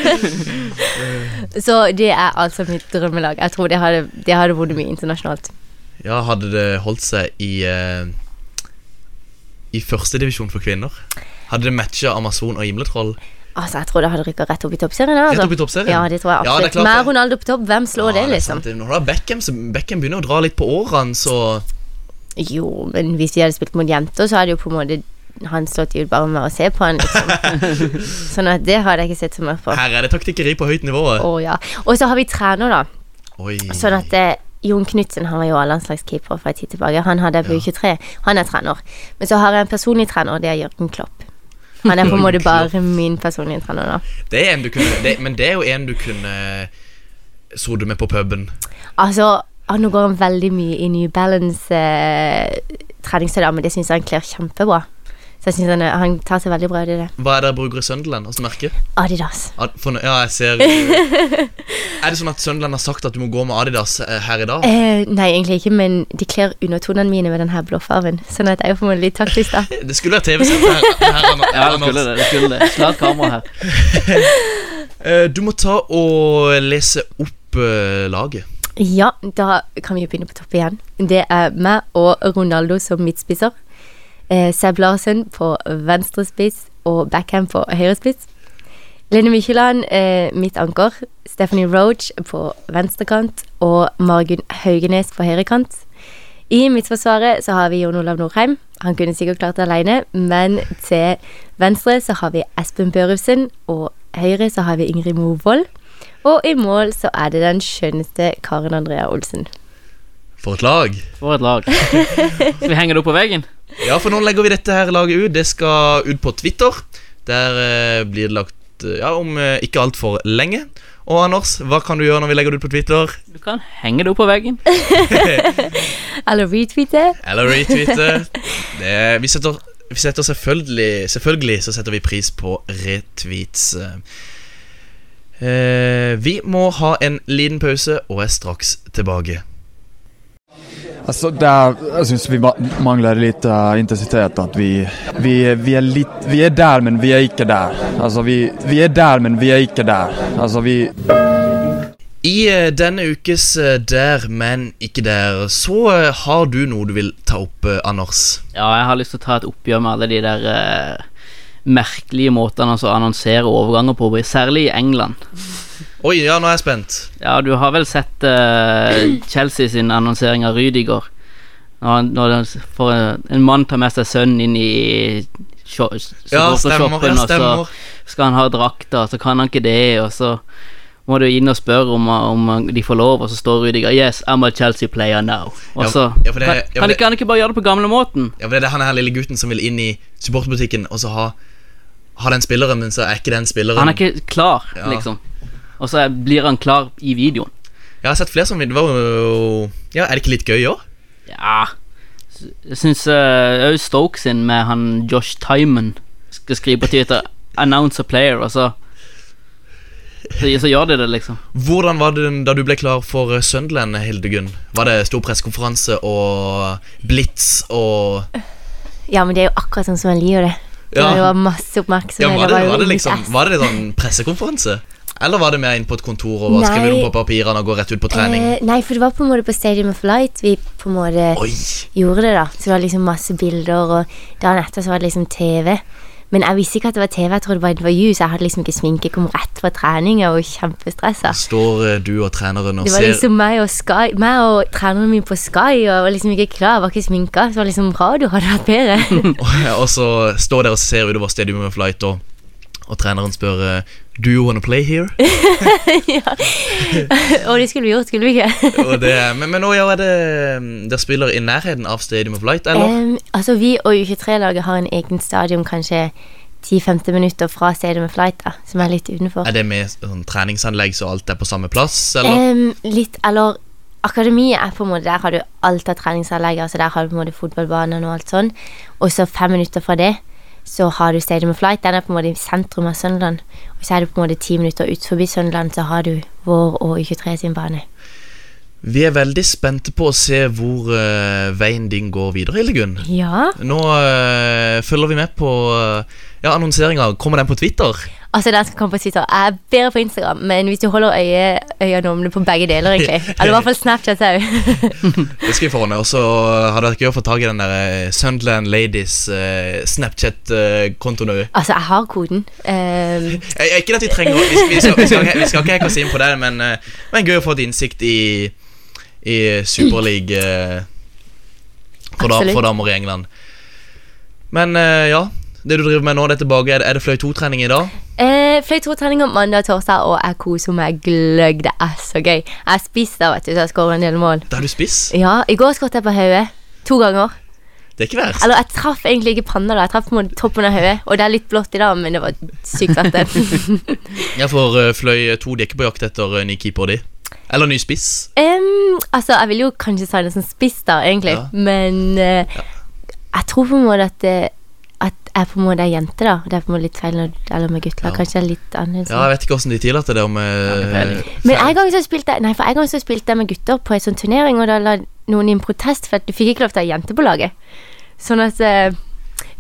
Speaker 4: så det er altså mitt drømmelag. Jeg tror det hadde, det hadde vunnet mye internasjonalt.
Speaker 6: Ja, Hadde det holdt seg i eh, I førstedivisjon for kvinner? Hadde det matcha Amazon og Himletroll?
Speaker 4: Altså, Jeg tror det hadde rykka rett opp i toppserien. her, Altså.
Speaker 6: Rett opp i toppserien?
Speaker 4: Ja, det tror jeg
Speaker 6: Ja, det er
Speaker 4: absolutt.
Speaker 6: klart
Speaker 4: Med
Speaker 6: det.
Speaker 4: Ronaldo på topp, hvem slår
Speaker 6: Ja,
Speaker 4: det,
Speaker 6: er
Speaker 4: liksom?
Speaker 6: sant. Når du har Beckham, så Beckham begynner å dra litt på årene, så
Speaker 4: Jo, men hvis vi hadde spilt mot jenter, så hadde jo på en måte han slått ut bare med å se på han, liksom. sånn at det hadde jeg ikke sett så mye på.
Speaker 6: her er det taktikkeri på høyt nivå.
Speaker 4: Å, ja. Og så har vi trener, da.
Speaker 6: Oi.
Speaker 4: Sånn at eh, Jon Knutsen han var jo A-landslagskeeper for en tid tilbake. Han hadde på
Speaker 6: Ja.
Speaker 4: U23. Han er trener. Men så har jeg en personlig trener, det er Jørgen Klopp. Han er på en måte
Speaker 6: Jørgen Klopp.
Speaker 4: bare min personlige trener, da.
Speaker 6: Det er en du kunne, det, men det er jo en du kunne sittet med på puben.
Speaker 4: Altså, ah, nå går han veldig mye i New Balance eh, treningsstøtter, men det syns jeg han kler kjempebra. Så jeg synes han, er- han tar seg veldig bra ut i det.
Speaker 6: Hva er det dere bruker i Sunderland? Altså merke?
Speaker 4: Adidas.
Speaker 6: Ad- for nå- Ja, jeg ser Er det sånn at Sunderland har sagt at du må gå med Adidas eh, her i dag?
Speaker 4: Eh, nei, egentlig ikke, men de kler undertonene mine med den her blåfargen. Sånn at jeg er jo på en måte litt taktisk, da.
Speaker 6: Det skulle være TV-sendt her. her Anna-
Speaker 7: Ja, det
Speaker 6: Anders.
Speaker 7: skulle det. det skulle det. Slå et kamera her.
Speaker 6: Eh, Du må ta og lese opp eh, laget.
Speaker 4: Ja, da kan vi jo begynne på topp igjen. Det er meg og Ronaldo som midtspisser. Eh, Seb Larsen på venstre spiss og Backham på høyre spiss. Lene Mykjeland, eh, mitt anker. Stephanie Roach på venstre kant og Margunn Haugenes på høyre kant. I midtforsvaret så har vi Jon Olav Norheim. Han kunne sikkert klart det alene, men til venstre så har vi Espen Børufsen, og høyre så har vi Ingrid Movold. Og i mål så er det den skjønneste Karen Andrea Olsen.
Speaker 6: For et lag.
Speaker 7: For et lag. Skal vi henge det opp på veggen?
Speaker 6: Ja, for nå legger vi dette her laget ut. Det skal ut på Twitter. Der eh, blir det lagt eh, ja, om eh, ikke altfor lenge. Og Anders, hva kan du gjøre når vi legger det ut på Twitter?
Speaker 7: Du kan henge det opp på veggen.
Speaker 4: Eller retweete.
Speaker 6: Eller retweete. Det, vi setter vi setter selvfølgelig, selvfølgelig så setter vi pris på retweets. Eh, vi må ha en liten pause og er straks tilbake.
Speaker 9: Altså, der jeg synes vi ma- mangler litt eh, intensitet. At vi, vi, vi er litt Vi er der, men vi er ikke der. Altså, vi, vi er der, men vi er ikke der. Altså, vi
Speaker 6: I eh, denne ukes eh, Der, men ikke der, så eh, har du noe du vil ta opp, eh, Anders.
Speaker 7: Ja, jeg har lyst til å ta et oppgjør med alle de der eh, merkelige måtene altså, å annonsere overganger på, særlig i England.
Speaker 6: Oi, ja, nå er jeg spent.
Speaker 7: Ja, du har vel sett eh, Chelsea sin annonsering av Rydiger. Når, han- når han s- får en, en mann tar med seg sønnen inn i sjo- s-
Speaker 6: Ja, stemmer.
Speaker 7: supportershoppen,
Speaker 6: Ja,
Speaker 7: og så
Speaker 6: stemmer.
Speaker 7: skal han ha drakta, så kan han ikke det, og så må du inn og spørre om, om de får lov, og så står Rudiger Yes, I'm a Chelsea player now. Og
Speaker 6: Ja,
Speaker 7: så
Speaker 6: ja, for det-
Speaker 7: kan,
Speaker 6: ja, for
Speaker 7: kan
Speaker 6: det-
Speaker 7: ikke han ikke bare gjøre det på gamlemåten?
Speaker 6: Ja, for det er han her lille gutten som vil inn i supporterbutikken og så ha, ha den spilleren, men så er ikke den spilleren
Speaker 7: Han er ikke klar,
Speaker 6: Mm. Ja.
Speaker 7: liksom. Og så blir han klar i videoen.
Speaker 6: Jeg har sett flere som det var jo Ja, er det ikke litt gøy òg?
Speaker 7: Ja S- Jeg syns òg Stoke sin med han Josh Timon skal skrive på Twitter 'Announce a player', og så så, så gjør de det, liksom.
Speaker 6: Hvordan var det da du ble klar for eh, Sunderland, Hildegunn? Var det stor pressekonferanse og blitz og
Speaker 4: Ja, men det er jo akkurat sånn som han liker det. Det
Speaker 6: Ja.
Speaker 4: var jo masse oppmerksomhet.
Speaker 6: Ja, var det,
Speaker 4: jo
Speaker 6: var det
Speaker 4: mitt
Speaker 6: liksom
Speaker 4: ass.
Speaker 6: Var det sånn pressekonferanse? Eller var det mer inn på et kontor og skrive
Speaker 4: Nei.
Speaker 6: noe på papirene og gå rett ut på trening?
Speaker 4: Eh, nei, for det var på en måte på Stadium of Light vi på en måte
Speaker 6: Oi!
Speaker 4: gjorde det, da. Så det var liksom masse bilder, og dagen etter så var det liksom TV. Men jeg visste ikke at det var TV, jeg trodde det var intervju, så jeg hadde liksom ikke sminke. Jeg kom rett fra trening, jeg var jo kjempestressa.
Speaker 6: Står eh, du og treneren og
Speaker 4: Det var
Speaker 6: ser
Speaker 4: liksom meg og, Sky, meg og treneren min på Sky, og jeg var liksom ikke klar, jeg var ikke sminka. Så det var liksom radio hadde vært bedre.
Speaker 6: Og så står dere og ser utover Stadium of Light, og, og treneren spør eh, Do you wanna play here?
Speaker 4: og det skulle vi gjort, skulle vi ikke?
Speaker 6: og det, men, men nå ja, er det mm, Dere spiller i nærheten av Stadium of Light, eller?
Speaker 4: Em, altså, vi og U23-laget har en egen stadion kanskje 10-15 minutter fra Stadium of Light, da, som er litt utenfor.
Speaker 6: Er det med sånn, treningsanlegg så alt er på samme plass, eller?
Speaker 4: Em, litt, eller Akademiet er på en måte, der har du alt av treningsanlegg. Altså der har du på en måte fotballbanen og alt sånn. Og så fem minutter fra det så har du Stadium of Flight. Den er på en måte i sentrum av Sønderland. Og så er det på en måte ti minutter ut forbi Sønderland, så har du vår og U23 sin bane.
Speaker 6: Vi er veldig spente på å se hvor eh, veien din går videre, Hildegunn.
Speaker 4: Ja.
Speaker 6: Nå eh, følger vi med på eh, ja, annonseringer. Kommer den på Twitter?
Speaker 4: Altså den som kommer på Twitter er bedre på Instagram, men hvis du holder øye, øynene åpne på begge deler, egentlig. Eller i hvert fall Snapchat òg.
Speaker 6: Det skal vi få ordne. Og så har det vært gøy å få tak i den der eh, Sunderland Ladies eh, Snapchat-kontoen òg.
Speaker 4: altså, jeg har koden. Em,
Speaker 6: Eh, eh, Ikke at vi trenger å- Vi, vi, skal, vi, skal, ikke- vi skal ikke hacke oss inn på det, men, eh, men gøy å få et innsikt i, i Superleague eh, for, da,
Speaker 4: Absolutt.
Speaker 6: for damer i England. Men eh, ja, det du driver med nå, det er tilbake. Er det, er det fløy 2-trening i dag?
Speaker 4: Eh, fløy to treninger mandag og torsdag, og jeg koser meg gløgg. Det er så gøy. Jeg spiste da, vet du, så jeg skåret en del mål.
Speaker 6: Da er du spiss.
Speaker 4: Ja, I går skåret jeg på hodet. To ganger.
Speaker 6: Det er ikke verst.
Speaker 4: Eller jeg traff egentlig ikke panna, da. Jeg traff på en måte toppen av hodet. Og det er litt blått i dag, men det var sykt fett. det.
Speaker 6: Ja, for eh, fløy 2 de er ikke på jakt etter eh, ny keeper, de. Eller ny spiss.
Speaker 4: Em, altså, jeg ville jo kanskje si det som spiss, da, egentlig,
Speaker 6: Ja.
Speaker 4: men eh, jeg tror på en måte at eh, at jeg på en måte er jente, da. Det er på en måte litt feil når, eller med gutter.
Speaker 6: Ja.
Speaker 4: Kanskje det er litt annerledes.
Speaker 6: Ja, jeg vet ikke åssen de tillater det om eh,
Speaker 4: Men en gang så spilte jeg Nei, for en gang så spilte jeg med gutter på en sånn turnering, og da la noen inn protest, for at du fikk ikke lov til å ha jente på laget. Sånn at eh,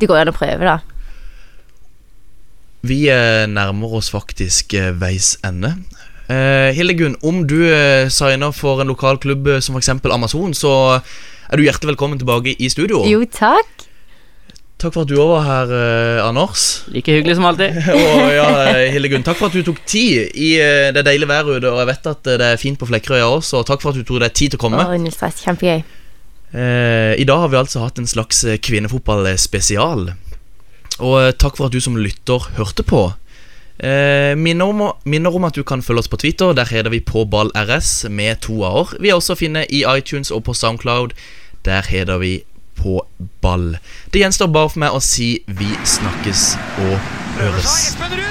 Speaker 4: Det går jo an å prøve, da.
Speaker 6: Vi eh, nærmer oss faktisk eh, veis ende. Eh, Hildegunn, om du eh, signer for en lokal klubb eh, som f.eks. Amazon, så er du hjertelig velkommen tilbake i studio.
Speaker 4: Jo, takk.
Speaker 6: Takk for at du òg var her, eh, Anders.
Speaker 7: Like hyggelig som alltid.
Speaker 6: Og ja, eh, Hildegunn, takk for at du tok tid i eh, det deilige været ute. Og jeg vet at eh, det er fint på Flekkerøya også, og takk for at du tok deg tid til å komme.
Speaker 4: Å, null stress. Kjempegøy.
Speaker 6: Eh, I dag har vi altså hatt en slags eh, kvinnefotballspesial. Og eh, takk for at du som lytter hørte på. Eh, minner, om, minner om at du kan følge oss på Twitter. Der heter vi på ball RS med to a-er. Vi er også å finne i iTunes og på Soundcloud. Der heter vi på ball. Det gjenstår bare for meg å si vi snakkes og høres.
Speaker 2: Espen Ruud!